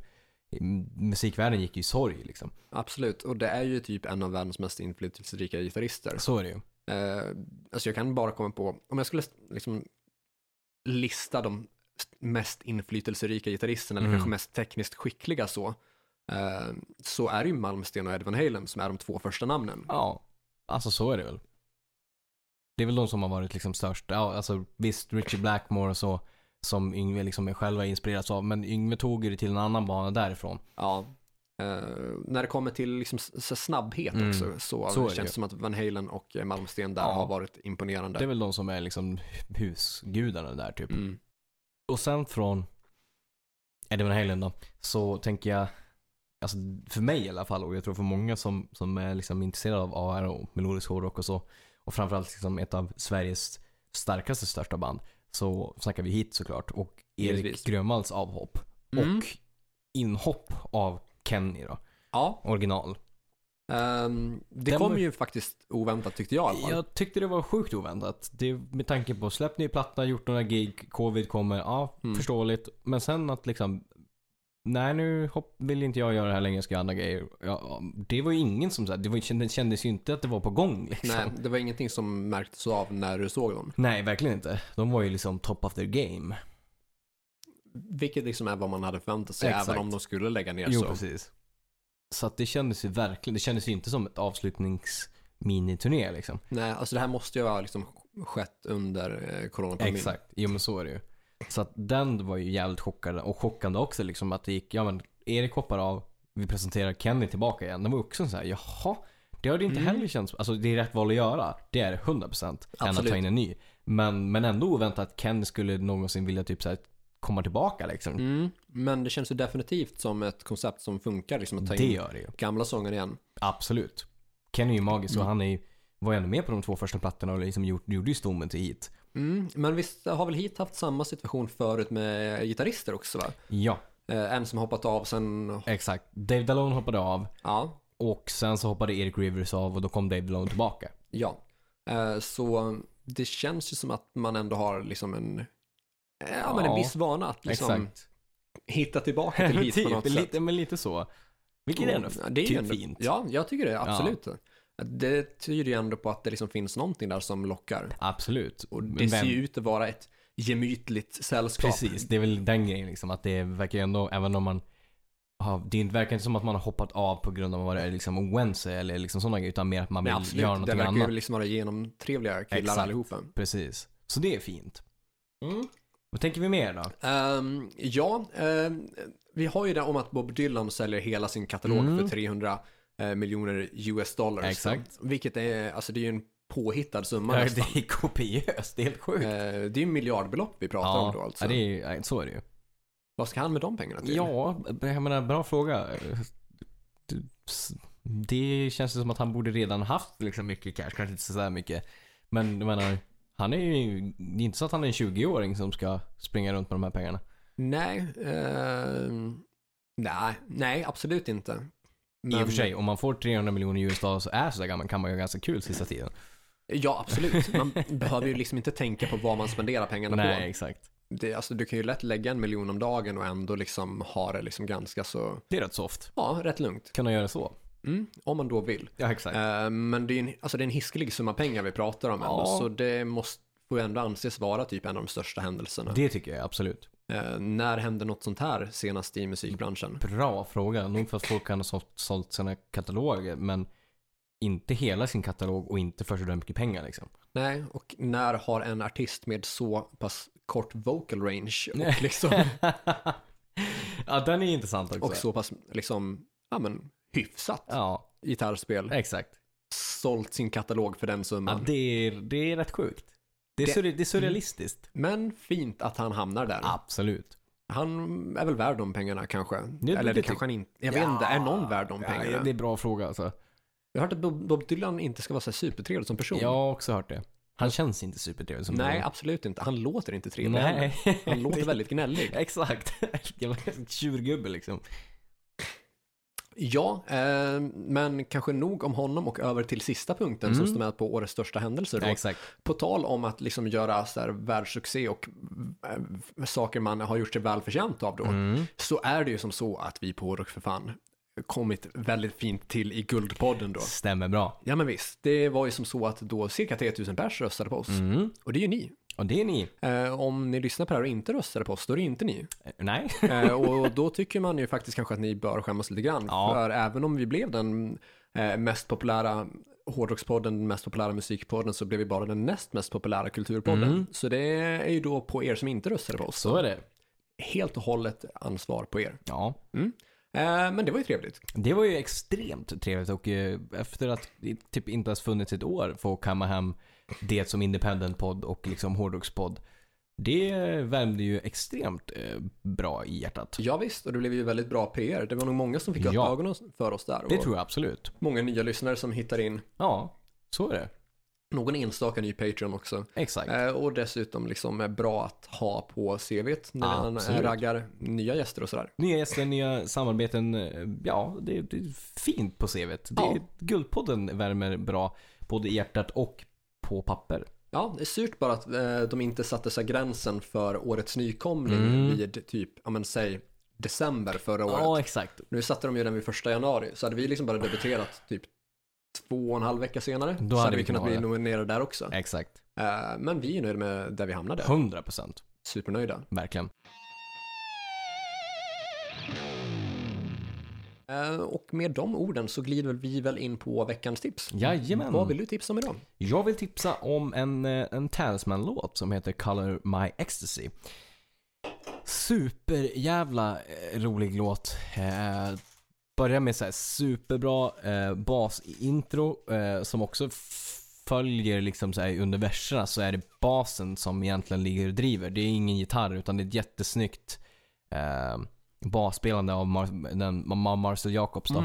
[SPEAKER 2] musikvärlden gick ju i sorg liksom.
[SPEAKER 1] Absolut, och det är ju typ en av världens mest inflytelserika gitarrister.
[SPEAKER 2] Så är det ju.
[SPEAKER 1] Eh, alltså jag kan bara komma på, om jag skulle liksom lista de mest inflytelserika gitarristerna, eller
[SPEAKER 2] Mm.
[SPEAKER 1] kanske mest tekniskt skickliga så, eh, så är det ju Malmsten och Ed Van Halen som är de två första namnen.
[SPEAKER 2] Ja, alltså så är det väl. Det är väl de som har varit liksom störst. Ja, alltså visst, Richie Blackmore och så, som Yngve liksom själv har inspirerats av, men Yngve tog ju det till en annan bana därifrån.
[SPEAKER 1] Ja. Eh, när det kommer till liksom s- s- snabbhet
[SPEAKER 2] Mm.
[SPEAKER 1] också så,
[SPEAKER 2] Så är det
[SPEAKER 1] känns
[SPEAKER 2] ju.
[SPEAKER 1] det som att Van Halen och eh, Malmsten där
[SPEAKER 2] Ja.
[SPEAKER 1] har varit imponerande.
[SPEAKER 2] Det är väl de som är liksom husgudarna där typ.
[SPEAKER 1] Mm.
[SPEAKER 2] Och sen från Eddie Van Halen då, så tänker jag, alltså för mig i alla fall och jag tror för många som, som är liksom intresserade av AR och melodisk hårdrock och så, och framförallt liksom ett av Sveriges starkaste största band, så snackar vi hit såklart och Erik
[SPEAKER 1] Givetvis.
[SPEAKER 2] Grönvalls avhopp
[SPEAKER 1] Mm.
[SPEAKER 2] och inhopp av Kenny då,
[SPEAKER 1] Ja,
[SPEAKER 2] original.
[SPEAKER 1] ehm, det
[SPEAKER 2] Den
[SPEAKER 1] kom
[SPEAKER 2] var-
[SPEAKER 1] ju faktiskt oväntat tyckte jag i alla fall.
[SPEAKER 2] Jag tyckte det var sjukt oväntat. Det, med tanke på släppt ny platta, gjort några gig, covid kommer, ja
[SPEAKER 1] Mm.
[SPEAKER 2] förståeligt. Men sen att liksom, nej nu hopp, vill inte jag göra det här längre, ska jag göra andra grejer. Ja, det var ju ingen som sa, det, var, ju- det kändes ju inte att det var på gång liksom.
[SPEAKER 1] Nej,
[SPEAKER 2] Nej.
[SPEAKER 1] det var ingenting som märktes av när du såg dem.
[SPEAKER 2] verkligen inte. De var ju liksom top of their game.
[SPEAKER 1] Vilket liksom är vad man hade förväntat sig,
[SPEAKER 2] Exakt.
[SPEAKER 1] även om de skulle lägga ner så.
[SPEAKER 2] precis. Så att det kändes ju verkligen, det kändes ju inte som ett avslutnings miniturné liksom.
[SPEAKER 1] Nej, alltså det här måste ju ha liksom skett under eh, coronapandemin.
[SPEAKER 2] Exakt, jo men så är det ju. Så att den var ju jävligt chockande och chockande också liksom att det gick, ja men Erik hoppar av, vi presenterar Kenny tillbaka igen. Det var också så här, jaha, det har det inte
[SPEAKER 1] Mm.
[SPEAKER 2] heller känts, alltså det är rätt val att göra, det är det 100% än att
[SPEAKER 1] Absolut.
[SPEAKER 2] ta in en ny. Men, men ändå oväntat att Kenny skulle någonsin vilja typ så här, komma tillbaka liksom.
[SPEAKER 1] Mm, men det känns ju definitivt som ett koncept som funkar, liksom att ta
[SPEAKER 2] Det
[SPEAKER 1] in
[SPEAKER 2] gör det ju,
[SPEAKER 1] gamla sånger igen.
[SPEAKER 2] absolut. Kenny är ju magisk
[SPEAKER 1] Mm.
[SPEAKER 2] och han är ju, var ju ändå med på de två första plattorna och liksom gjort, gjorde ju stommen till hit.
[SPEAKER 1] Mm, men visst har väl Heat haft samma situation förut med gitarrister också va?
[SPEAKER 2] Ja,
[SPEAKER 1] Eh, en som hoppat av sen,
[SPEAKER 2] exakt. Dave Dallone hoppade av.
[SPEAKER 1] ja,
[SPEAKER 2] Och sen så hoppade Eric Rivers av och då kom Dave Dallone tillbaka.
[SPEAKER 1] ja. Eh, så det känns ju som att man ändå har liksom en, eh, ja, men en
[SPEAKER 2] Ja,
[SPEAKER 1] viss vana att liksom
[SPEAKER 2] Exakt. Typ,
[SPEAKER 1] hitta tillbaka till Heat på något sätt.
[SPEAKER 2] lite, men lite så. Vilket är ändå
[SPEAKER 1] Ja, det är ju
[SPEAKER 2] typ
[SPEAKER 1] ändå-
[SPEAKER 2] fint.
[SPEAKER 1] Ja, jag tycker det, absolut. Det tyder ju ändå på att det liksom finns någonting där som lockar.
[SPEAKER 2] Absolut.
[SPEAKER 1] Och det
[SPEAKER 2] Men
[SPEAKER 1] ser
[SPEAKER 2] vem-
[SPEAKER 1] ju ut att vara ett gemytligt sällskap.
[SPEAKER 2] Precis, det är väl den grejen liksom. Att det verkar ju ändå, även om man har, det verkar inte som att man har hoppat av på grund av vad det är liksom oense eller liksom sådana grejer. Utan mer att man
[SPEAKER 1] Nej,
[SPEAKER 2] vill
[SPEAKER 1] absolut.
[SPEAKER 2] göra
[SPEAKER 1] det
[SPEAKER 2] någonting
[SPEAKER 1] verkar
[SPEAKER 2] annat.
[SPEAKER 1] ju liksom vara genomtrevliga killar
[SPEAKER 2] Exakt.
[SPEAKER 1] allihopa.
[SPEAKER 2] Precis. Så det är fint. Mm. Vad tänker vi mer då?
[SPEAKER 1] Ehm, ja, ehm, vi har ju det om att Bob Dylan säljer hela sin katalog
[SPEAKER 2] Mm.
[SPEAKER 1] för 300 eh, miljoner US dollars.
[SPEAKER 2] Exakt.
[SPEAKER 1] Vilket är, alltså det är ju en påhittad summa
[SPEAKER 2] Ja,
[SPEAKER 1] nästan.
[SPEAKER 2] det är kopiöst, det är helt sjukt.
[SPEAKER 1] Eh, det är ju miljardbelopp vi pratar om då alltså.
[SPEAKER 2] ja, det är, ju- ja, så är det ju.
[SPEAKER 1] Vad ska han med de pengarna till?
[SPEAKER 2] Ja, jag menar bra fråga. Du- s- Det känns ju som att han borde redan haft liksom mycket cash, kanske inte sådär mycket. Men jag menar, han är ju, det är inte så att han är en 20-åring som ska springa runt med de här pengarna.
[SPEAKER 1] Nej, ehm, nej, nej, absolut inte.
[SPEAKER 2] I
[SPEAKER 1] Men-
[SPEAKER 2] och för sig, om man får 300 miljoner US dollar så är sådär gammal kan man ju ha ganska kul sista tiden.
[SPEAKER 1] Ja, absolut. Man behöver ju liksom inte tänka på vad man spenderar pengarna
[SPEAKER 2] Nej,
[SPEAKER 1] på.
[SPEAKER 2] exakt.
[SPEAKER 1] Det, alltså, du kan ju lätt lägga en miljon om dagen och ändå liksom ha det liksom ganska så,
[SPEAKER 2] Det är rätt soft.
[SPEAKER 1] ja, rätt lugnt.
[SPEAKER 2] Kunna göra så.
[SPEAKER 1] Mm, om man då vill.
[SPEAKER 2] Ja, exakt.
[SPEAKER 1] Eh, men det är, ju en, alltså, det är en hiskelig summa pengar vi pratar om ändå,
[SPEAKER 2] Ja.
[SPEAKER 1] så det måste får ju ändå anses vara typ en av de största händelserna.
[SPEAKER 2] Det tycker jag absolut.
[SPEAKER 1] Eh, när hände något sånt här senast i musikbranschen?
[SPEAKER 2] Bra fråga. Nog för att folk kan ha sålt, sålt sina kataloger, men inte hela sin katalog och inte för sådär mycket pengar liksom.
[SPEAKER 1] Nej, och när har en artist med så pass kort vocal range och, liksom,
[SPEAKER 2] ja, den är intressant också.
[SPEAKER 1] och så pass liksom, ja, men, hyfsat
[SPEAKER 2] Ja,
[SPEAKER 1] gitarrspel
[SPEAKER 2] exakt.
[SPEAKER 1] sålt sin katalog för den
[SPEAKER 2] Ja,
[SPEAKER 1] summan.
[SPEAKER 2] det, är, det är rätt sjukt. Det Mm. är,
[SPEAKER 1] Det-
[SPEAKER 2] surre- det är surrealistiskt.
[SPEAKER 1] Men fint att han hamnar där.
[SPEAKER 2] Absolut.
[SPEAKER 1] Han är väl värd de pengarna kanske?
[SPEAKER 2] det
[SPEAKER 1] Eller det
[SPEAKER 2] tycker-
[SPEAKER 1] kanske han inte Jag vet inte, är någon värd de pengarna?
[SPEAKER 2] Ja, det är bra fråga alltså.
[SPEAKER 1] Jag har hört att Bob Bob Dylan inte ska vara så här supertrevlig som person.
[SPEAKER 2] Jag har också hört det. Han känns inte supertrevlig som
[SPEAKER 1] Nej,
[SPEAKER 2] person.
[SPEAKER 1] absolut inte. Han låter inte trevlig heller.
[SPEAKER 2] Nej.
[SPEAKER 1] Han låter väldigt gnällig.
[SPEAKER 2] Exakt. Jävla tjurgubbe liksom.
[SPEAKER 1] Ja, eh, men kanske nog om honom och över till sista punkten som står med på årets största händelser. Då.
[SPEAKER 2] Exakt.
[SPEAKER 1] På tal om att liksom göra så här världssuccé och eh, saker man har gjort sig välförtjänt av då, så är det ju som så att vi på Rock för fan kommit väldigt fint till i Guldpodden då.
[SPEAKER 2] Stämmer bra.
[SPEAKER 1] Ja men visst, det var ju som så att då cirka 3000 pers röstade på oss. Och det är ju ni.
[SPEAKER 2] Och det är ni.
[SPEAKER 1] Eh, om ni lyssnar på det här och inte röstade på oss, då är det inte ni.
[SPEAKER 2] Eh, Nej.
[SPEAKER 1] Eh, och då tycker man ju faktiskt kanske att ni bör skämmas lite grann.
[SPEAKER 2] Ja.
[SPEAKER 1] För även om vi blev den eh, mest populära hårdrockspodden, den mest populära musikpodden, så blev vi bara den näst mest populära kulturpodden.
[SPEAKER 2] Mm.
[SPEAKER 1] Så det är ju då på er som inte röstade på oss.
[SPEAKER 2] Så är det.
[SPEAKER 1] Helt och hållet ansvar på er.
[SPEAKER 2] Ja.
[SPEAKER 1] Eh, men det var ju trevligt.
[SPEAKER 2] Det var ju extremt trevligt och eh, efter att det typ inte ens funnits ett år få kamma hem det som independent-podd och liksom hårdrockspodd. Det värmde ju extremt eh, bra i hjärtat.
[SPEAKER 1] Ja visst, och det blev ju väldigt bra PR. Det var nog många som fick upp
[SPEAKER 2] Ja.
[SPEAKER 1] ögonen för oss där.
[SPEAKER 2] Det
[SPEAKER 1] och
[SPEAKER 2] tror jag absolut.
[SPEAKER 1] Många nya lyssnare som hittar in.
[SPEAKER 2] Ja, så är det.
[SPEAKER 1] Någon enstaka ny Patreon också.
[SPEAKER 2] Exakt.
[SPEAKER 1] Eh, Och dessutom liksom eh, bra att ha på CVt när man
[SPEAKER 2] Absolut.
[SPEAKER 1] eh, raggar nya gäster och sådär.
[SPEAKER 2] Nya gäster, nya samarbeten. eh, Ja, det, det är fint på CVt. Det,
[SPEAKER 1] Ja.
[SPEAKER 2] Guldpodden värmer bra både i hjärtat och på papper.
[SPEAKER 1] Ja, det är surt bara att eh, de inte satte sig gränsen för årets nykomling vid typ, ja men säg december förra året.
[SPEAKER 2] Ja, exakt.
[SPEAKER 1] Nu satte de ju den vid första januari, så hade vi liksom bara debuterat typ två och en halv vecka senare. så hade
[SPEAKER 2] hade
[SPEAKER 1] vi
[SPEAKER 2] vi kunnat
[SPEAKER 1] kunnat bli
[SPEAKER 2] vara det.
[SPEAKER 1] nominerade där också.
[SPEAKER 2] Exakt.
[SPEAKER 1] Eh, men vi är nöjda med där vi hamnade.
[SPEAKER 2] 100 procent.
[SPEAKER 1] Supernöjda.
[SPEAKER 2] Verkligen.
[SPEAKER 1] Eh, och med de orden så glider vi väl in på veckans tips.
[SPEAKER 2] Jajamän.
[SPEAKER 1] Vad vill du tipsa om idag?
[SPEAKER 2] Jag vill tipsa om en, eh, en Talisman-låt som heter Color My Ecstasy. Superjävla eh, rolig låt. Eh, börjar med så här superbra eh, basintro eh, som också f- följer liksom så här under verserna så är det basen som egentligen ligger och driver. Det är ingen gitarr utan det är ett jättesnyggt eh, basspelande av Mar- den, Mar- Marcel Jacobs då.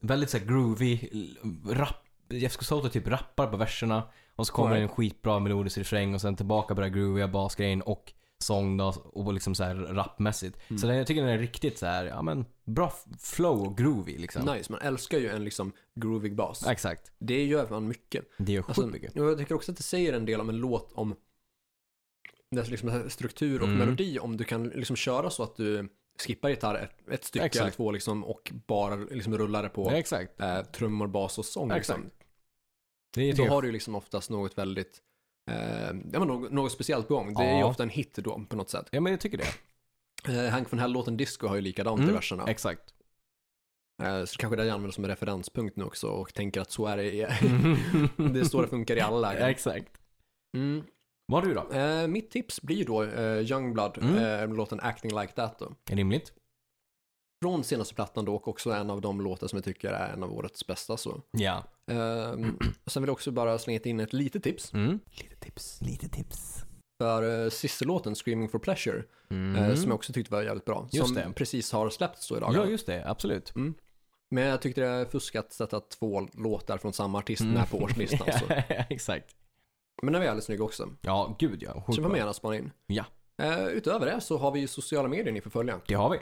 [SPEAKER 2] Väldigt så här groovy, l- rap. Jeff Soto typ rappar på verserna och så kommer
[SPEAKER 1] Right.
[SPEAKER 2] en skitbra melodisk refräng och sen tillbaka på den här grooviga basgrejen och sång då, och liksom så här rapmässigt.
[SPEAKER 1] Mm.
[SPEAKER 2] Så den, jag tycker den är riktigt så här, ja men bra f- flow och groovy liksom.
[SPEAKER 1] Nice, man älskar ju en liksom groovig bas.
[SPEAKER 2] Exakt.
[SPEAKER 1] Det gör man mycket.
[SPEAKER 2] Det gör sjukt
[SPEAKER 1] Alltså,
[SPEAKER 2] mycket.
[SPEAKER 1] och jag tycker också att det säger en del om en låt om dess liksom här struktur
[SPEAKER 2] Mm.
[SPEAKER 1] och melodi. Om du kan liksom köra så att du skippar gitarr ett, ett stycke
[SPEAKER 2] Exakt.
[SPEAKER 1] eller två liksom, och bara liksom rullar det på
[SPEAKER 2] Exakt.
[SPEAKER 1] eh, trummor, bas och sång. Liksom.
[SPEAKER 2] Det är
[SPEAKER 1] Då
[SPEAKER 2] typ-
[SPEAKER 1] har du ju liksom oftast något väldigt Eh, ja, men något, något speciellt på gång. Det är ju
[SPEAKER 2] Ja.
[SPEAKER 1] ofta en hit då på något sätt.
[SPEAKER 2] Ja men jag tycker det.
[SPEAKER 1] Eh, Hank von Hell-låten Disco har ju likadant i
[SPEAKER 2] Mm,
[SPEAKER 1] verserna.
[SPEAKER 2] Exakt.
[SPEAKER 1] Eh, så kanske det jag använder som en referenspunkt nu också och tänker att så är det. i-
[SPEAKER 2] Mm.
[SPEAKER 1] det är så det funkar i alla lägen.
[SPEAKER 2] Exakt.
[SPEAKER 1] Mm.
[SPEAKER 2] Vad har du då?
[SPEAKER 1] Eh, mitt tips blir då eh, Youngblood,
[SPEAKER 2] Mm.
[SPEAKER 1] eh, låten Acting Like That. Då.
[SPEAKER 2] Rimligt.
[SPEAKER 1] Från senaste plattan då och också en av de låtar som jag tycker är en av årets bästa. Så.
[SPEAKER 2] Ja.
[SPEAKER 1] Eh, sen vill jag också bara slänga in ett litet tips.
[SPEAKER 2] Mm.
[SPEAKER 1] Lite tips.
[SPEAKER 2] Lite tips.
[SPEAKER 1] För eh, systerlåten Screaming for Pleasure,
[SPEAKER 2] Mm.
[SPEAKER 1] eh, som jag också tyckte var jävligt bra.
[SPEAKER 2] Just
[SPEAKER 1] som
[SPEAKER 2] det.
[SPEAKER 1] precis har släppts då idag.
[SPEAKER 2] Ja just det, absolut.
[SPEAKER 1] Men jag tyckte det är fuskats att sätta två låtar från samma artist
[SPEAKER 2] Mm.
[SPEAKER 1] med på årslistan. alltså. Så.
[SPEAKER 2] Exakt.
[SPEAKER 1] Men den var jävligt snygg också.
[SPEAKER 2] Ja, gud ja. Sjukt
[SPEAKER 1] Så får man
[SPEAKER 2] bra.
[SPEAKER 1] gärna spana in.
[SPEAKER 2] Ja,
[SPEAKER 1] Eh, utöver det så har vi ju sociala medier ni får följa.
[SPEAKER 2] det har vi.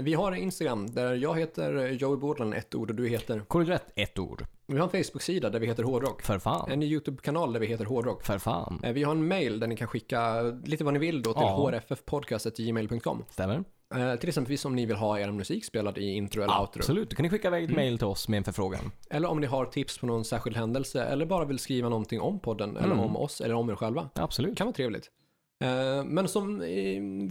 [SPEAKER 1] Vi har Instagram där jag heter Joey Bordland, ett ord och du heter...
[SPEAKER 2] Korrekt rätt, ett ord.
[SPEAKER 1] Vi har en Facebook-sida där vi heter Hårdrock.
[SPEAKER 2] För fan.
[SPEAKER 1] En YouTube-kanal där vi heter Hårdrock.
[SPEAKER 2] För fan.
[SPEAKER 1] Eh, Vi har en mail där ni kan skicka lite vad ni vill då till
[SPEAKER 2] Ja.
[SPEAKER 1] hrffpodcast.gmail.com.
[SPEAKER 2] Stämmer?
[SPEAKER 1] Eh, till exempelvis om ni vill ha er musik spelad i intro eller outro. Mm.
[SPEAKER 2] Absolut. Då kan ni skicka iväg ett mail till oss med en förfrågan.
[SPEAKER 1] Eller om ni har tips på någon särskild händelse eller bara vill skriva någonting om podden
[SPEAKER 2] Mm.
[SPEAKER 1] eller om oss eller om er själva.
[SPEAKER 2] Absolut.
[SPEAKER 1] kan vara trevligt. Eh, Men som eh,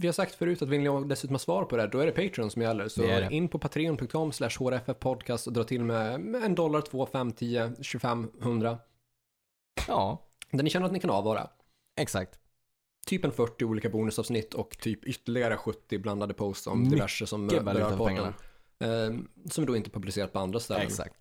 [SPEAKER 1] vi har sagt förut att vill ni dessutom ha svar på det här, då är det Patreon som gäller. Så
[SPEAKER 2] Det är det.
[SPEAKER 1] in på patreon.com slash hrffpodcast och dra till med en dollar, två, fem, tio, 25, hundra.
[SPEAKER 2] Ja,
[SPEAKER 1] Där ni känner att ni kan avvara.
[SPEAKER 2] exakt.
[SPEAKER 1] Typ en 40 olika bonusavsnitt och typ ytterligare 70 blandade posts om
[SPEAKER 2] Mycket
[SPEAKER 1] diverse som
[SPEAKER 2] valuta
[SPEAKER 1] berör
[SPEAKER 2] för
[SPEAKER 1] podden.
[SPEAKER 2] pengarna.
[SPEAKER 1] Eh, Som då inte publicerat på andra ställen.
[SPEAKER 2] Exakt.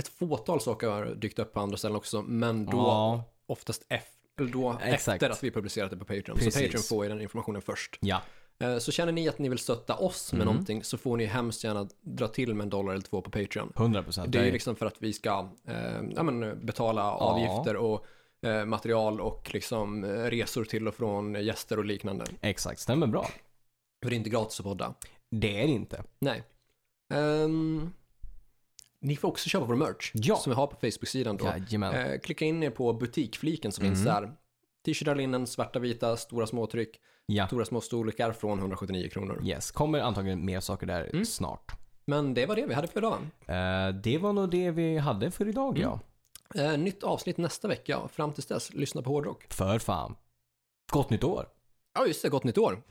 [SPEAKER 1] Ett fåtal saker har dykt upp på andra ställen också, men då
[SPEAKER 2] Ja.
[SPEAKER 1] oftast F, eller då
[SPEAKER 2] Exakt.
[SPEAKER 1] efter att vi publicerat det på Patreon. Så
[SPEAKER 2] Precis.
[SPEAKER 1] Patreon får ju den informationen först.
[SPEAKER 2] Ja.
[SPEAKER 1] Eh, Så känner ni att ni vill stötta oss med
[SPEAKER 2] Mm.
[SPEAKER 1] någonting så får ni hemskt gärna dra till med en dollar eller två på Patreon.
[SPEAKER 2] 100 procent.
[SPEAKER 1] Det är ju liksom för att vi ska eh, ja, men, betala avgifter och eh, material och liksom eh, resor till och från eh, gäster och liknande.
[SPEAKER 2] Exakt. Stämmer bra.
[SPEAKER 1] För det är inte gratis att podda.
[SPEAKER 2] Det är det inte.
[SPEAKER 1] Nej. Ehm, ni får också köpa vår merch
[SPEAKER 2] Ja.
[SPEAKER 1] som vi har på Facebook-sidan då.
[SPEAKER 2] Jajamän. Mm.
[SPEAKER 1] Eh, klicka in er på butikfliken som finns där. T-shirtar, linnen, svarta, vita, stora småtryck,
[SPEAKER 2] Ja.
[SPEAKER 1] stora små storlekar från 179 kronor.
[SPEAKER 2] Yes. Kommer antagligen mer saker där
[SPEAKER 1] Mm.
[SPEAKER 2] snart.
[SPEAKER 1] Men det var det vi hade för idag. va?
[SPEAKER 2] Eh, det var nog det vi hade för idag ja.
[SPEAKER 1] Mm. Eh, nytt avsnitt nästa vecka. Fram tills dess, lyssna på hårdrock.
[SPEAKER 2] För fan. Gott nytt år!
[SPEAKER 1] Ja, just det. Gott nytt år.